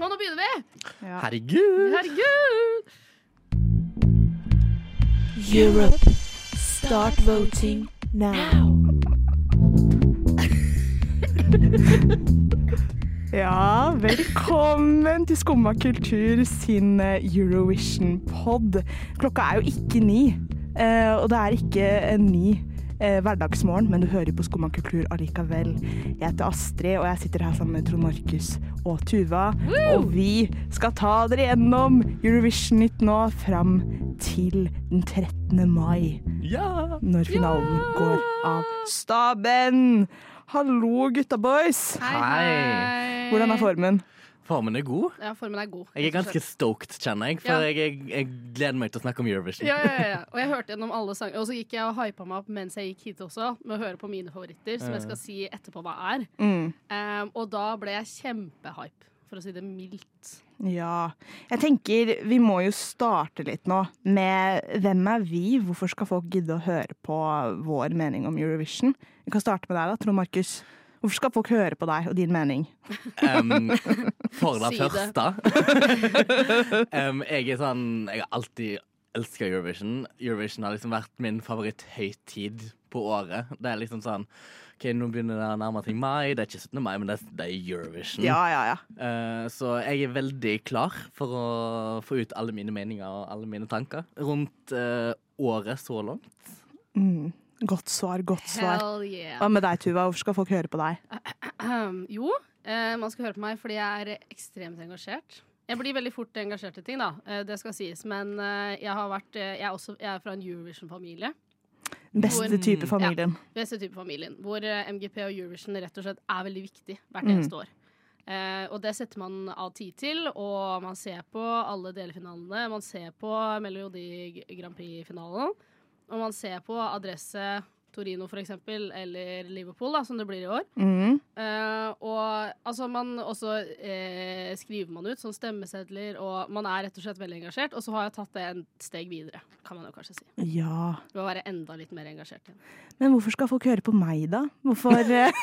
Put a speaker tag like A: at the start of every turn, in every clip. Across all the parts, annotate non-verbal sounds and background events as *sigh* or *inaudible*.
A: begynner vi!
B: Ja.
C: Herregud!
A: Herregud!
D: Europe, start voting now.
B: *laughs* Ja, velkommen til Skumma kultur sin Eurovision-pod. Klokka er jo ikke ni, eh, og det er ikke en ny eh, hverdagsmorgen, men du hører på Skumma kultur allikevel. Jeg heter Astrid, og jeg sitter her sammen med Trond Markus og Tuva. Og vi skal ta dere gjennom Eurovision-nytt nå fram til den 13. mai
A: Mm.
C: Ja!
B: når finalen går av staben. Hallo, gutta boys!
C: Hei.
B: Hvordan er formen?
C: Formen er god.
A: Ja, formen er god.
C: Jeg er
A: rett og
C: ganske
A: slett.
C: stoked, kjenner jeg, for
A: Ja.
C: jeg, jeg, jeg gleder meg til å snakke om Eurovision.
A: ja, ja, ja, ja. Og jeg hørte gjennom alle sanger. Og så gikk jeg og hypa meg opp mens jeg gikk hit også, med å høre på mine favoritter, som
C: Eh.
A: jeg skal si etterpå hva er.
B: Mm.
A: Um, og da ble jeg kjempehype, for å si det mildt.
B: Ja. Jeg tenker vi må jo starte litt nå med hvem er vi? Hvorfor skal folk gidde å høre på vår mening om Eurovision? Vi kan starte med deg, da, Trond Markus. Hvorfor skal folk høre på deg og din mening?
A: *laughs*
C: Um, for det
A: Si det.
C: første
A: *laughs*
C: um, Jeg er sånn Jeg har alltid elska Eurovision. Eurovision har liksom vært min favoritthøytid på året. Det er liksom sånn OK, nå begynner det å nærme seg mai. Det er ikke 17. mai, men det er, det er Eurovision.
B: Ja, ja, ja.
C: Eh, så jeg er veldig klar for å få ut alle mine meninger og alle mine tanker rundt eh, året så langt.
B: Mm. Godt svar, godt svar.
A: Hell yeah.
B: Hva med deg, Tuva? Hvorfor skal folk høre på deg?
A: Ahem. Jo, eh, man skal høre på meg fordi jeg er ekstremt engasjert. Jeg blir veldig fort engasjert i ting, da. Eh, det skal sies. Men eh, jeg har vært eh, jeg, er også, jeg er fra en Eurovision-familie.
B: Den beste
C: Hvor-
B: type familien.
A: Beste type familien. Hvor eh, MGP og Eurovision rett og slett er veldig viktig hvert
B: Mm.
A: eneste år. Eh, og det setter man av tid til, og man ser på alle delfinalene. Man ser på Melodi Grand Prix-finalen, og man ser på adresse Torino, for eksempel, eller Liverpool, da, som det blir i år.
B: Mm.
A: Eh, og altså man også eh, skriver man ut sånn stemmesedler, og man er rett og slett veldig engasjert. Og så har jeg tatt det en steg videre, kan man jo kanskje si.
B: Ja.
A: Ved å være enda litt mer engasjert igjen.
B: Men hvorfor skal folk høre på meg, da?
A: *laughs*
B: Hvorfor eh,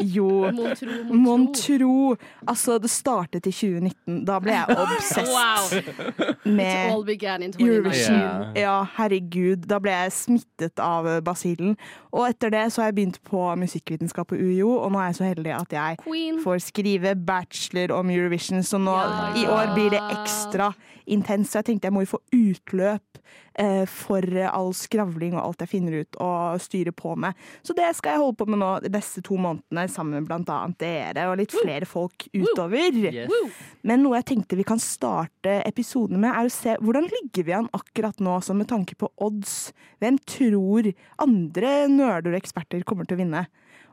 B: Jo.
A: Mon tro, mon
B: Mon
A: tro.
B: tro! Altså, det startet i 2019. Da
A: *laughs*
B: ble jeg obsessed
A: Wow! It all
B: med
A: began in 2019.
B: Eurovision.
C: Yeah.
B: Ja, herregud. Da ble jeg smittet av eh, basillen. Og etter det så har jeg begynt på musikkvitenskap på UiO, og nå er jeg så heldig at jeg
A: Queen.
B: får skrive bachelor om Eurovision, så nå
A: Ja.
B: i år blir det ekstra intenst. Så jeg tenkte jeg må jo få utløp eh, for eh, all skravling og alt jeg finner ut og styrer på med. Så det skal jeg holde på med nå de neste to månedene, sammen med blant annet dere og litt flere folk utover.
C: Yes.
A: Woo!
B: Men noe jeg tenkte vi kan starte episoden med, er å se hvordan ligger vi an akkurat nå, sånn med tanke på odds. Hvem tror andre nerder og eksperter kommer til å vinne?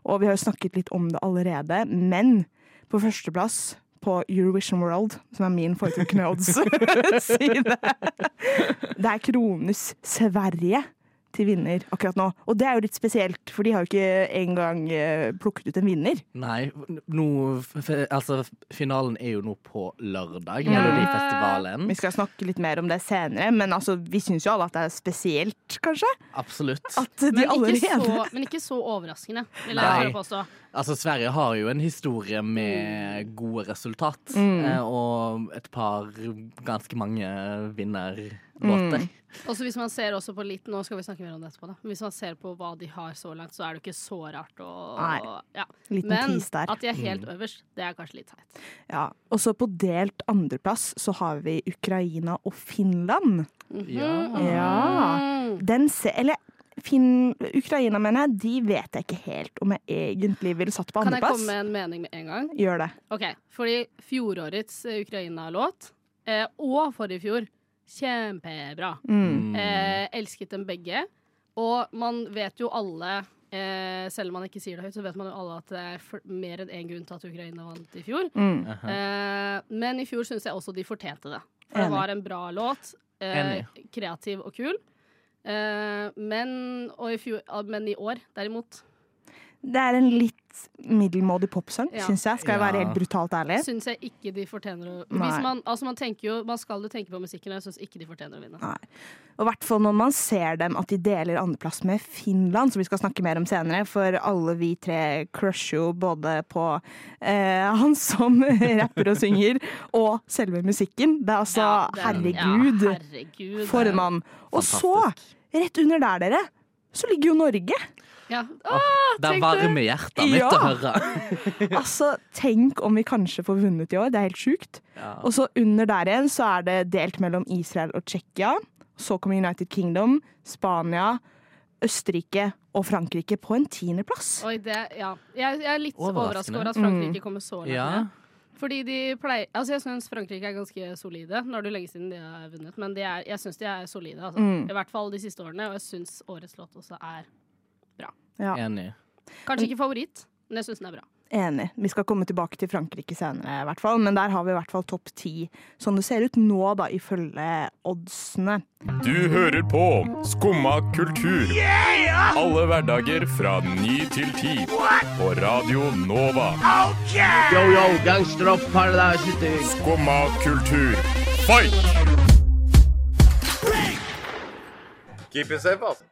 B: Og vi har jo snakket litt om det allerede, men på førsteplass på Eurovision World, som er min foretrukne *laughs* odds-side, det er Krones Sverige til vinner akkurat nå. Og det er jo litt spesielt, for de har jo ikke engang eh, plukket ut en vinner.
C: Nei, nå f- Altså, finalen er jo nå på lørdag,
A: Ja.
C: Melodifestivalen.
A: Mm.
B: Vi skal snakke litt mer om det senere, men altså, vi syns jo alle at det er spesielt, kanskje?
C: Absolutt.
B: At de
A: Men ikke,
B: allerede
A: så, men ikke så overraskende, vil jeg
C: Nei.
A: bare påstå.
C: Altså, Sverige har jo en historie med gode resultat. eh, Og et par ganske mange vinnerlåter.
A: Også hvis man ser også på litt Nå skal vi snakke mer om det etterpå, da. Men hvis man ser på hva de har så langt, så er det jo ikke så rart å
B: Nei.
A: ja.
B: Liten
A: Men
B: tease der.
A: at de er helt øverst, det er kanskje litt teit.
B: *laughs* Ja. Og så på delt andreplass så har vi Ukraina og Finland.
A: Ah.
C: Ja.
B: Ja.
A: Mm.
B: Den se... Eller Finn... Ukraina, mener jeg. De vet jeg ikke helt om jeg egentlig ville satt på
A: Kan jeg komme
B: andreplass.
A: med en mening med en gang?
B: Gjør det.
A: Ok, Fordi fjorårets eh, Ukraina-låt, eh, og forrige fjor, kjempebra.
B: Mm.
A: Eh, elsket dem begge. Og man vet jo alle, eh, selv om man ikke sier det høyt, så vet man jo alle at det er fl- mer enn én grunn til at Ukraina vant i fjor.
B: Mm.
A: Eh, men i fjor syns jeg også de fortjente det. For det
B: Enig.
A: var en bra låt. Eh,
C: Enig.
A: kreativ og kul. Eh, men, og i fjor, ah, men i år, derimot
B: Det er en litt middelmådig popsang,
A: Ja.
B: syns jeg. Skal jeg være
C: Ja.
B: helt brutalt ærlig?
A: Syns jeg ikke de fortjener å
B: Nei.
A: Hvis man, altså man, tenker jo, man skal jo tenke på musikken, og jeg syns ikke de fortjener å
B: Altså,
A: vinne.
B: Og i hvert fall når man ser dem at de deler andreplass med Finland, som vi skal snakke mer om senere, for alle vi tre crusher jo både på eh, han som *laughs* rapper og synger, og selve musikken. Det er altså
A: Ja, det-
B: Herregud,
A: Ja, herregud.
B: for en mann. Og så,
C: Fantastisk.
B: rett under der, dere, så ligger jo Norge.
A: Ja.
C: Åh, det
A: tenk
C: er varme i hjertet mitt
B: Ja.
C: å høre.
B: Altså, tenk om vi kanskje får vunnet i år. Det er helt sjukt. Og så under der igjen så er det delt mellom Israel og Tsjekkia. Så kommer United Kingdom, Spania, Østerrike og Frankrike på en tiendeplass.
A: Oi, det, ja. jeg, jeg er litt overraska
C: Overraskende.
A: over at
B: Mm.
A: Frankrike kommer så langt
C: Ja.
A: ned. Fordi de pleier Altså, jeg syns Frankrike er ganske solide. Nå er det jo lenge siden de har vunnet, men de er, jeg syns de er solide, altså.
B: Mm.
A: I hvert fall de siste årene, og jeg syns årets låt også er
B: Ja,
C: Enig.
A: Kanskje ikke favoritt, men jeg syns den er bra.
B: Enig. Vi skal komme tilbake til Frankrike senere, i hvert fall. men der har vi i hvert fall topp ti. Sånn det ser ut nå, da, ifølge oddsene.
E: Du hører på Skumma kultur. Alle hverdager fra ny til ti. På Radio Nova.
F: Yo, yo, gangsterrapp, paradise city.
E: Skumma kultur. Fight!
G: Keep it safe, ass.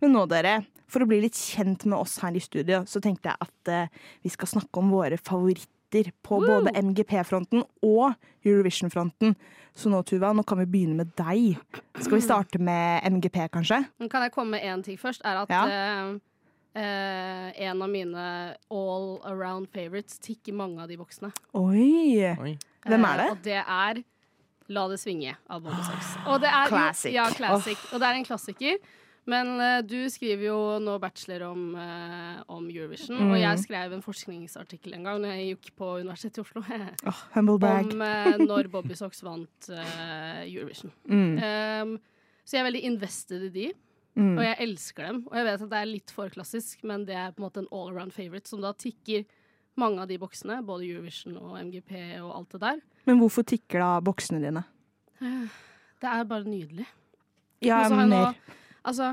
B: Men nå, dere, for å bli litt kjent med oss her i studio, så tenkte jeg at eh, vi skal snakke om våre favoritter på både MGP-fronten og Eurovision-fronten. Så nå, Tuva, nå kan vi begynne med deg. Skal vi starte med MGP, kanskje?
A: Men kan jeg komme med én ting først? Er at
B: Ja.
A: eh, eh, en av mine all around favorites tikker mange av de boksene.
B: Oi!
C: Oi.
B: Hvem er det?
A: Eh, Og det er La det svinge av Bobo Socks. Og det er,
B: Classic.
A: Ja, classic. Og det er en klassiker. Men eh, du skriver jo nå bachelor om, eh, om Eurovision, og
B: Mm.
A: jeg skrev en forskningsartikkel en gang når jeg gikk på Universitetet i Oslo. *laughs*
B: Åh, humble bag.
A: om eh, når
B: *laughs*
A: Bobby Socks vant eh, Eurovision.
B: Mm.
A: Um, så jeg er veldig invested i de, og jeg elsker dem. Og jeg vet at det er litt for klassisk, men det er på en måte en all around favorite, som da tikker mange av de boksene, både Eurovision og MGP og alt det der.
B: Men hvorfor tikker da boksene dine?
A: Det er bare nydelig.
B: Ja,
A: Og så har jeg
B: men
A: nå,
B: mer.
A: altså,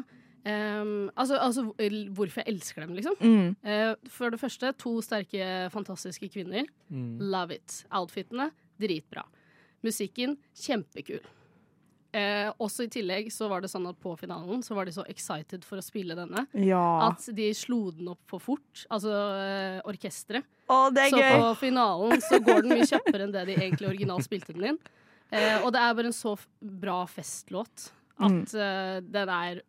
A: um, altså, altså l- hvorfor jeg elsker dem, liksom.
B: Mm.
A: Eh, for det første, to sterke, fantastiske kvinner. Love it. Outfitene, dritbra. Musikken, kjempekul. Eh, også i tillegg så var det sånn at på finalen så var de så excited for å spille denne
B: Ja.
A: at de slo den opp for fort. Altså eh, orkesteret.
B: Å, det
A: Så på finalen så går den mye kjappere enn det de egentlig originalt spilte den inn. Eh, og det er bare en så f- bra festlåt at
B: Mm.
A: eh, den er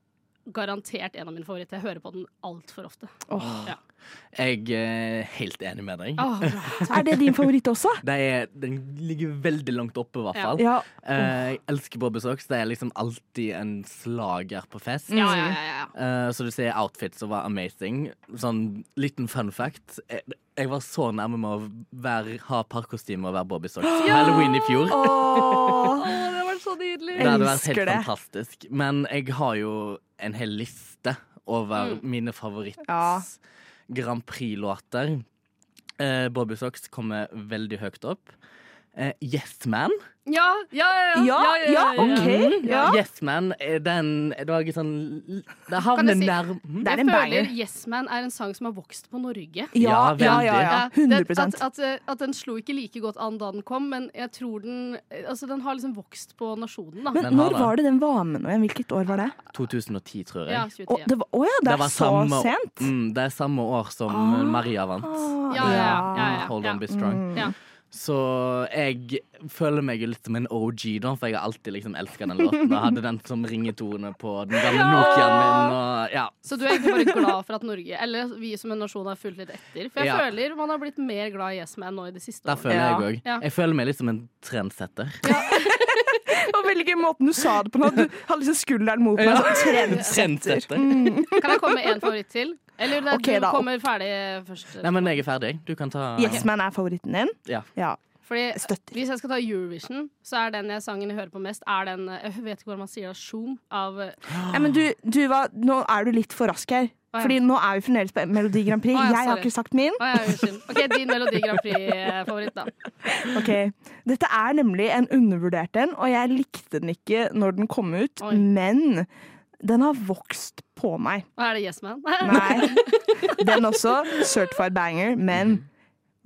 A: garantert en av mine favoritter. Jeg hører på den altfor ofte. Ja.
C: Jeg er helt enig med deg.
A: Åh, bra.
B: Er det din favoritt også?
C: Det er, den ligger veldig langt oppe, i hvert
A: Ja.
C: fall.
B: Ja.
C: Eh, jeg elsker Bobby Socks. Det er liksom alltid en slager på fest.
B: Mm.
A: Ja, ja, ja, ja.
C: Eh, så du ser outfits som var amazing. Sånn liten fun fact. Jeg, jeg var så nærme med å være, ha parkostyme og være Bobby Socks. på Halloween i fjor.
B: Åh.
A: det var så nydelig.
C: Det hadde vært helt
B: elsker det.
C: fantastisk. Men jeg har jo en hel liste over mine favoritt
B: Mm. Ja.
C: Grand Prix-låter. Eh, Bobby Socks kommer veldig høyt opp. Eh, yes Man.
A: Ja, ja, ja.
B: *laughs* Ja, ja, OK. Ja.
C: Yes Man eh, den Det var ikke sånn Det havner
A: Kan jeg si-
C: nærm... Mhm.
B: Det er
A: Jeg
B: en
A: føler
B: banger.
A: Yes Man er en sang som har vokst på Norge.
C: Ja,
B: Ja, ja, ja. ja.
A: Ja, det-
B: 100
A: at, at, eh, at den slo ikke like godt an da den kom, men jeg tror den eh, Altså, den har liksom vokst på nasjonen, da.
B: Men
C: Den har
B: når
C: det.
B: var det den var med nå igjen? Hvilket år var det?
C: 2010, tror jeg.
A: ja,
B: Å
A: 2010.
B: det var, å ja, det,
C: var
B: er så
C: samme-
B: sent.
C: Mm, det er samme år som
B: Ah.
C: Maria vant.
A: Ja, ja, ja, ja, ja.
C: Hold on, be strong.
B: Mm.
A: Ja.
C: Så jeg føler meg jo litt som en OG, da, for jeg har alltid liksom elska den låten. Og hadde den som ringetone på den gamle Nokiaen min. Og, ja.
A: Så du er egentlig bare glad for at Norge, eller vi som en nasjon, har fulgt litt etter. For jeg
C: Ja.
A: føler man har blitt mer glad i Yes Man nå i det siste
C: Der
A: året.
C: føler jeg
B: Ja.
C: òg.
A: Ja.
C: Jeg føler meg litt som en trendsetter.
B: Det var veldig gøy måten du sa det på nå. Du hadde liksom skulderen
C: *laughs*
B: mot meg. sånn *laughs* Trendsetter. Mm.
C: Trendsetter.
A: Kan jeg komme med én favoritt til? Eller det, er-
B: Ok,
A: du
B: da.
A: kommer ferdig først.
C: Nei, men jeg er ferdig. Du kan ta
B: Yes Man er favoritten din.
C: Ja.
B: Ja.
A: Fordi
B: Støtter.
A: Hvis jeg skal ta Eurovision, så er den jeg sangen jeg hører på mest, er den eh, Jeg vet ikke hvordan man sier det, Zoom av eh,
B: Nei, men du, du var, nå er du litt for rask her.
A: ja.
B: Fordi nå er vi fremdeles på Melodi Grand
A: Å,
B: Prix.
A: ja,
B: jeg har
A: sorry.
B: ikke sagt min.
A: Å, ja, unnskyld. OK, din Melodi Grand Prix-favoritt, da.
B: Ok, Dette er nemlig en undervurdert en, og jeg likte den ikke når den kom ut,
A: Oi.
B: men den har vokst på meg.
A: Og er det Yes Man? *laughs*
B: Nei, den også. Certified banger, men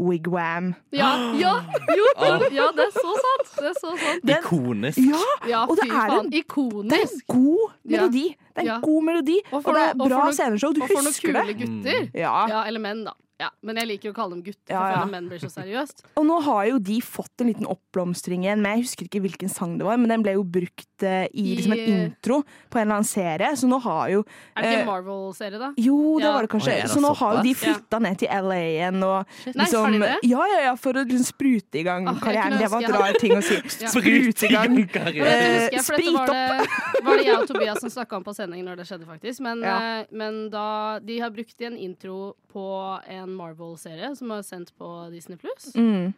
C: Mm.
B: wigwam.
A: Ja, ja, jo, ja, det er så sant! Det er så sant.
C: Ikonisk.
B: Ja,
A: Ja,
B: Og det
A: fy
B: er
A: faen.
B: en-
A: Ikonisk.
B: det er en god
A: Ja.
B: melodi. Det er en
A: Ja.
B: god melodi, og,
A: Og for
B: det
A: noe-
B: er
A: og for
B: bra
A: noe-
B: sceneshow. Du
A: Og for noen
B: husker
A: kule
B: det. Mm.
A: gutter.
B: Ja.
A: Ja, eller menn, da. Ja, men jeg liker jo å kalle dem gutter,
B: Ah. Ja,
A: for
B: ja.
A: jeg føler menn blir så seriøst.
B: Og nå har jo de fått en liten oppblomstring igjen, men jeg husker ikke hvilken sang det var. Men den ble jo brukt eh, i
A: I-
B: liksom en intro på en eller annen serie, så nå har jo
A: Er det
B: Eh,
A: ikke en Marvel-serie, da?
B: Jo, det
A: Ja.
B: var det kanskje.
C: Oi, er det
B: så nå har jo de
A: såpass?
B: flytta ned til LA igjen og
A: Nei, har
B: liksom
A: de det?
B: Ja, ja, ja, for å liksom sprute i gang
A: Ah, jeg
B: karrieren.
A: kunne
B: Det var
A: ønske
B: et
A: jeg
B: rar ting å si.
A: *laughs* Ja.
B: Sprute i gang.
C: *laughs*
A: Ja, dette
B: Eh,
A: husker jeg, for dette
B: sprit
A: var det, var det jeg og Tobias som snakka om på sending når det skjedde, faktisk. Men,
B: Ja.
A: eh, men da de har brukt i en intro på en Marvel-serie som er sendt på Disney Pluss,
B: Mm,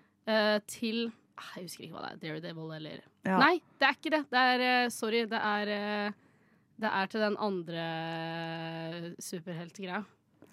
A: til ah, Jeg husker ikke hva det er. Daredevil eller
B: ja.
A: Nei, det er ikke det. Det er eh, Sorry. Det er eh, Det er til den andre superheltgreia.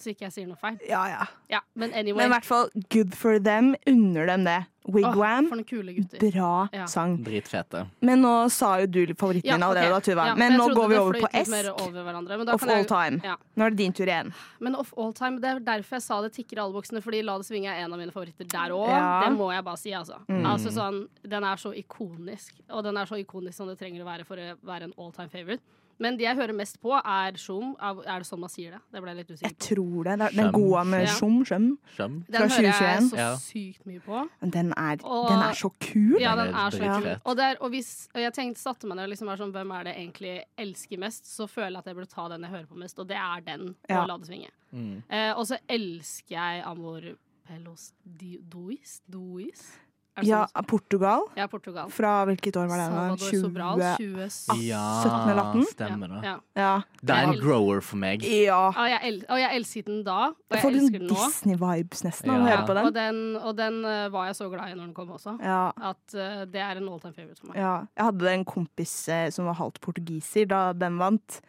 A: Så ikke jeg sier noe feil.
B: Ja, ja.
A: Ja, men anyway.
B: Men i hvert fall good for them. Unner dem det.
A: Åh,
B: Wigwam.
A: for noen kule gutter.
B: Bra
A: Ja.
B: sang.
C: Dritfete.
B: Men nå sa jo du favoritten
A: Ja,
B: din allerede,
A: ok.
B: da, Tuva.
A: Ja,
B: men
A: jeg
B: nå
A: trodde
B: går vi
A: det
B: over på
A: fløyt litt mer
B: Esk
A: over hverandre, men da
B: of
A: kan
B: all
A: jeg-
B: time.
A: Ja.
B: Nå er det din tur igjen.
A: Men Off All Time, det er derfor jeg sa det tikker i alle boksene, fordi La det svinge er en av mine favoritter der òg.
B: Ja. Mm.
A: Det må jeg bare si, altså. altså sånn, den er så ikonisk, og den er så ikonisk som det trenger å være for å være en all time favorite. Men de jeg hører mest på, er Shum. Er er det sånn man sier det? Det ble jeg litt
B: Jeg
A: usikker på.
B: tror det. det er den
C: Skjønn.
B: gode med
A: Ja.
B: Sjom
C: Skjønn.
B: Sjøm. fra
A: Den hører jeg
B: 2021.
A: så
C: Ja.
A: sykt mye på.
B: Den er,
A: Og-
B: den er så kul.
A: Ja,
C: Den
A: den
C: er
A: er så kul.
C: dritfet.
A: Og, der, og, hvis, og jeg tenkte, satte meg ned og liksom var sånn, hvem er det jeg egentlig elsker mest, så føler jeg at jeg burde ta den jeg hører på mest, og det er den på
B: Ja.
A: Ladesvinget.
C: Mm.
A: Eh, og så elsker jeg Amor Pelos Di- Dois? Dois? Er det
B: Ja,
A: sånn?
B: Portugal.
A: ja, Portugal.
B: Fra hvilket år var det? da?
A: Salvador Sobral,
B: 20...
A: 20...
C: Ja,
B: 17 eller 18?
C: Ah, stemmer det.
A: Ja.
B: Ja.
C: Det er en grower for meg.
B: ja.
A: Ja, jeg el og jeg elsket den da, og jeg
B: Jeg får
A: elsker
B: sånn
A: den nå.
B: Disney-vibes nesten av å
C: Ja.
B: høre på
A: Og
B: den.
A: den, og den eh, var jeg så glad i når den kom også.
B: Ja.
A: At eh, det er en all time favorite for meg.
B: Ja. Jeg hadde en kompis eh, som var halvt portugiser da den vant.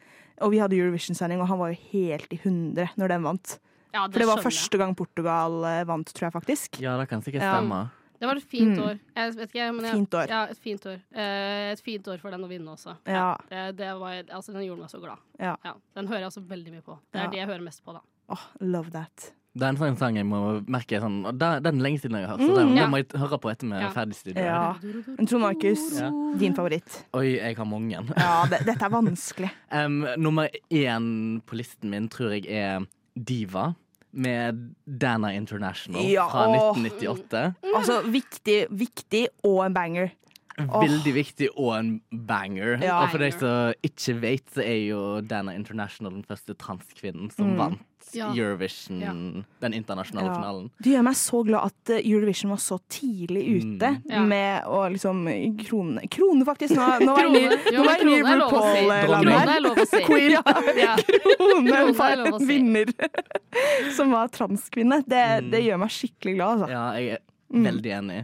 B: Og vi hadde Eurovision-sending, og han var jo helt i hundre når den vant.
A: Ja, det
B: For det var
A: skjønner jeg.
B: første gang Portugal eh, vant, tror jeg faktisk.
C: Ja, det kan sikkert
B: Ja.
C: stemme.
A: Det var et fint
B: Mm.
A: år. Jeg vet ikke, men jeg,
B: Fint år.
A: Ja, et fint år. Eh, et fint år for den å vinne også.
B: Ja.
A: Det, det var, altså, den gjorde meg så glad.
B: Ja.
A: Den hører jeg også veldig mye på. Det er
B: Ja.
A: det jeg hører
B: *laughs*
A: mest på, da.
B: Åh, love that.
C: Det er en sånn sang jeg må merke sånn, og det, det er den lenge siden jeg har hørt, så den,
A: ja.
C: den må jeg høre på etter vi er
A: Ja.
C: ferdig i studio.
B: Mm, Ja. Men Trond Markus,
C: Ja.
B: din favoritt.
C: Oi, jeg har mange.
B: Ja, det, dette er vanskelig.
C: Em, nummer én på listen min tror jeg er Diva med Dana International
B: Ja,
C: fra
B: åh.
C: 1998.
B: *laughs* Altså viktig, viktig og en banger.
C: Veldig viktig og en banger.
B: Ja.
C: Og for deg som ikke vet, så er jo Dana International den første transkvinnen som vant
A: Ja.
C: Eurovision,
A: Ja.
C: den internasjonale
B: Mm. Ja.
C: finalen.
B: Det gjør meg så glad at eh, Eurovision var så tidlig ute
A: Ja.
B: med å liksom krone Krone, faktisk! Nå, nå var jeg
A: Krone.
B: ny-
A: Jo,
B: nå var jeg ny
A: krone er lov å si.
B: RuPaul-land
A: Krone er lov å si.
B: *laughs* Queen. Ja.
A: Ja.
B: Krone
A: Krone er
B: var
A: lov å
B: en
A: si.
B: vinner *laughs* som var transkvinne. Det, det gjør meg skikkelig glad, altså.
C: Ja, jeg er veldig enig.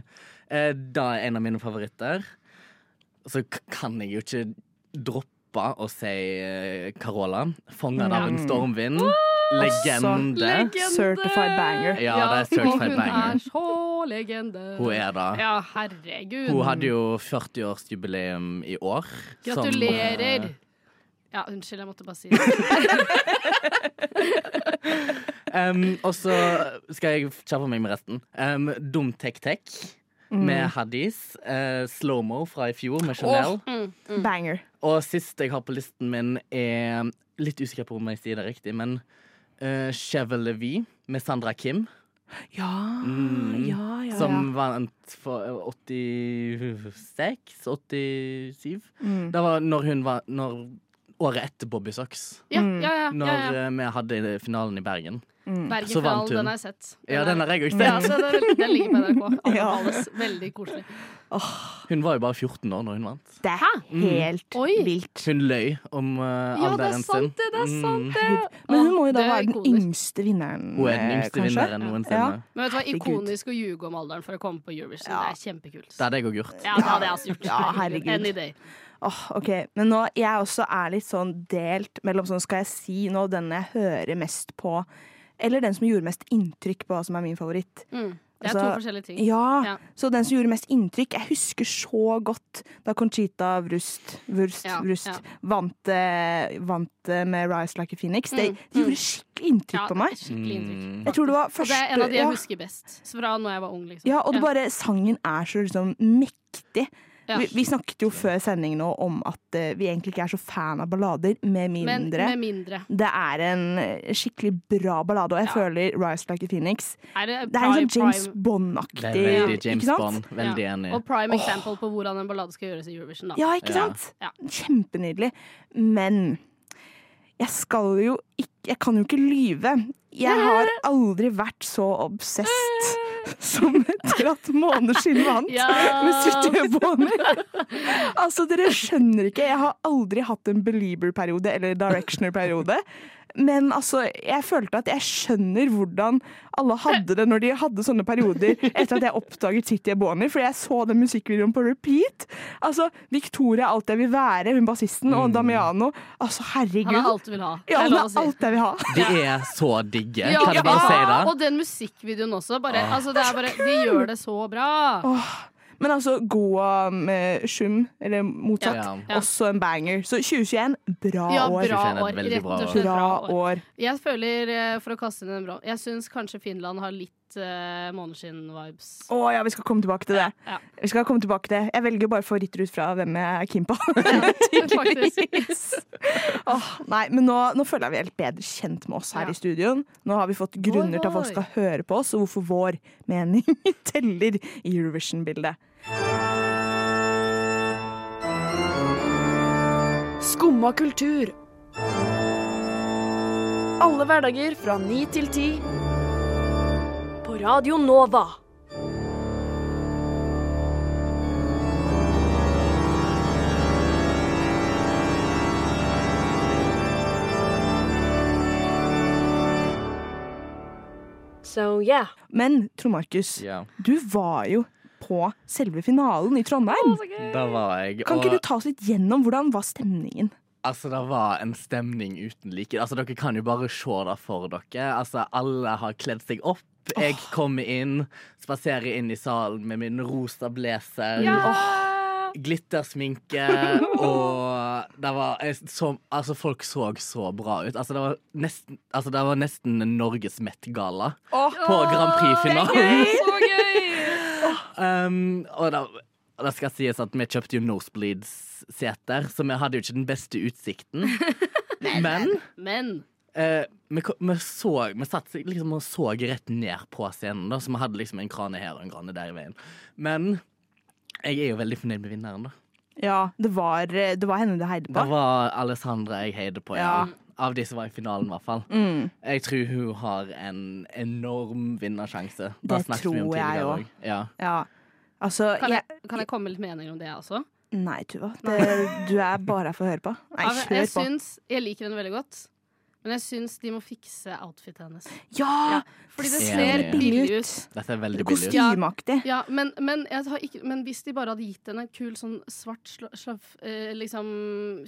C: Eh, da er en av mine favoritter. Så k- kan jeg jo ikke droppe å si eh, Carola. 'Fanget av en stormvind'. Legende.
A: Legende!
B: Certified banger.
C: Ja, det er certified
A: og
C: banger.
A: Hun er så legende.
C: Hun er det.
A: Ja, herregud.
C: Hun hadde jo 40-årsjubileum i år. som-
A: Gratulerer.
C: eh,
A: Ja, unnskyld, jeg måtte bare
C: *laughs*
A: si det.
C: Um, og så skal jeg kjappe meg med resten. Um, Dum Tek Tek med Haddis. Uh, Slow-mo fra i fjor med Chanel.
A: mm.
B: Banger.
C: Og sist jeg har på listen min, er litt usikker på om jeg sier det riktig, men uh, Levy med Sandra Kim,
B: Ja, ja, ja.
C: som
B: ja.
C: vant for eh, 86? 87?
A: Mm.
C: Det var når hun var når, Året etter Bobby Socks,
A: Ja,
B: Mm.
A: ja, ja.
C: når
A: ja, ja.
C: eh, vi hadde finalen i Bergen. så vant
A: Bergenfinalen,
C: hun.
A: den har jeg sett.
C: Ja, den har jeg òg
A: Ja,
C: sett.
A: så den, den ligger på NRK.
B: *laughs* Ja.
A: Anbefales. Veldig koselig. altså.
C: Hun var jo bare 14 år når hun vant.
B: Det er helt
A: Oi.
B: vilt.
C: Hun løy om uh,
A: Ja, det er
C: alderen sin.
A: sant det! det er
C: Mm.
A: sant det.
B: Men hun må jo da
A: Det er
B: være den
A: ikonisk.
B: yngste vinneren,
C: Hun er den yngste
B: kanskje?
C: vinneren noensinne.
B: Ja.
A: Men vet du hva,
B: Herregud.
A: ikonisk å ljuge om alderen for å komme på Eurovision.
B: Ja.
A: Det er kjempekult.
C: Det hadde jeg òg gjort.
A: Ja, det hadde jeg også gjort.
B: Ja, herregud.
A: Any day.
B: Åh, ok, Men nå, jeg også er litt sånn delt mellom sånn skal jeg si nå den jeg hører mest på, eller den som gjorde mest inntrykk på hva som er min favoritt.
A: Mm. Det er
B: Altså,
A: to forskjellige ting.
B: Ja,
A: Ja.
B: Så den som gjorde mest inntrykk Jeg husker så godt da Conchita Wurst, Wurst,
A: Ja,
B: Wurst
A: ja.
B: vant, eh, vant eh, med Rise Like a Phoenix. Det,
A: Mm,
B: det gjorde skikkelig inntrykk
A: Ja,
B: på meg.
A: skikkelig
C: Mm.
A: inntrykk.
B: Jeg tror det var
A: Og
B: første
A: det er en av de
B: ja.
A: jeg husker best. Så Fra når jeg var ung, liksom.
B: Ja, og det bare, sangen er så liksom mektig.
A: Ja.
B: Vi, vi snakket jo før sending nå om at eh, vi egentlig ikke er så fan av ballader, med
A: Men
B: mindre
A: med mindre.
B: det er en eh, skikkelig bra ballade, og jeg føler Rise Like a Phoenix.
A: Er det,
B: Det er en sånn James
A: prime,
C: Det
B: Bond-aktig
C: er veldig
B: ikke
C: James
B: sant?
C: Bond. Veldig
A: Ja.
C: enig.
A: Og prime example på hvordan en ballade skal gjøres i Eurovision. Da.
B: Ja, ikke
C: Ja.
B: sant?
A: Ja.
B: Kjempenydelig. Men jeg skal jo ikke Jeg kan jo ikke lyve. Jeg
A: *laughs*
B: har aldri vært så obsessed *laughs* som etter at Måneskinn vant
A: Ja.
B: med *laughs* sitt
A: *laughs*
B: øyebåner. Altså, dere skjønner ikke. Jeg har aldri hatt en belieber-periode eller directioner-periode. Men altså, jeg følte at jeg skjønner hvordan alle hadde det når de hadde sånne perioder etter at jeg oppdaget City Ebony, fordi jeg så den musikkvideoen på repeat. Altså, Victoria er alt jeg vil være, hun bassisten,
C: Mm.
B: og Damiano. Altså, herregud.
A: Han er alt du vil ha. Det
B: ja,
A: er
B: hun
A: lov å
B: er
A: si.
B: alt jeg vil ha.
C: De er så digge.
A: Ja,
C: Kan jeg bare si
A: ja,
C: det? Ah.
A: og den musikkvideoen også. Bare, altså, det er bare, de gjør det så bra.
B: Men altså, Goa med Shum, eller motsatt,
C: Ja.
A: Ja.
B: også en banger. Så 2021, bra
A: Ja,
B: år.
A: bra
C: Synes jeg er
A: år.
C: et veldig
A: Rett
C: bra
A: og
C: år.
A: slett bra år.
B: år.
A: Jeg føler, eh, for å kaste inn en bra Jeg syns kanskje Finland har litt uh, Måneskinn-vibes.
B: Å ja, vi skal komme tilbake til det.
A: Ja.
B: Vi skal komme tilbake til det. Jeg velger bare favoritter ut fra hvem jeg er keen
A: *laughs*
B: på.
A: Faktisk.
B: Åh, nei, men nå, nå føler jeg vi er litt bedre kjent med oss her
A: Ja.
B: i studioen. Nå har vi fått grunner til at
A: vår.
B: folk skal høre på oss, og hvorfor vår mening *laughs* teller i Eurovision-bildet.
D: Skumma kultur. Alle hverdager fra ni til ti. På Radio Nova. So yeah.
B: Men Trond Markus,
C: Ja,
B: du var jo på selve finalen i Trondheim.
C: da var jeg.
B: Kan
C: og-
B: ikke du ta oss litt gjennom hvordan var stemningen?
C: Altså, det var en stemning uten like. Altså, dere kan jo bare se det for dere. Altså, alle har kledd seg opp. Jeg kommer inn, spaserer inn i salen med min rosa blazer. Åh, Glittersminke
B: *laughs*
C: og det var jeg så, Altså, folk så så bra ut. Altså, det var nesten, altså, det var nesten en Norges Met-gala på Grand Prix-finalen.
A: Så gøy!
C: *laughs* Um, og da, og da skal sies at vi kjøpte jo nosebleeds-seter, så vi hadde jo ikke den beste
B: *laughs*
C: utsikten. Men
A: Men
C: eh, vi, ko- vi, så, vi satt liksom og så rett ned på scenen, da, så vi hadde liksom en krane her og en krane der i veien. Men jeg er jo veldig fornøyd med vinneren, da.
B: Ja, det var, eh, det var henne det heide
C: Det
B: på.
C: var Alessandra jeg heide på, ja.
B: Ja. Mm.
C: Av de som var i finalen, i hvert fall. Jeg tror hun har en enorm vinnersjanse. Da
B: Det
C: snakket vi om
B: tror jeg
C: tidligere
B: også.
C: også. Ja.
B: Ja. Altså,
A: kan
B: jeg,
A: jeg, kan jeg komme med litt meninger om det også?
B: Nei,
A: *laughs*
B: Tuva. Det, du er bare her for å høre på. Nei,
A: Ja, men
B: kjør
A: Altså, jeg
B: på.
A: syns Jeg liker henne veldig godt. Men jeg syns de må fikse outfitet hennes.
B: Ja!
A: Fordi det
C: Enig.
A: ser billig ut.
C: Dette er veldig billig.
B: Kostymeaktig.
A: Ja, men, men, jeg har ikke, men hvis de bare hadde gitt henne en kul sånn svart sla- slav, eh, liksom,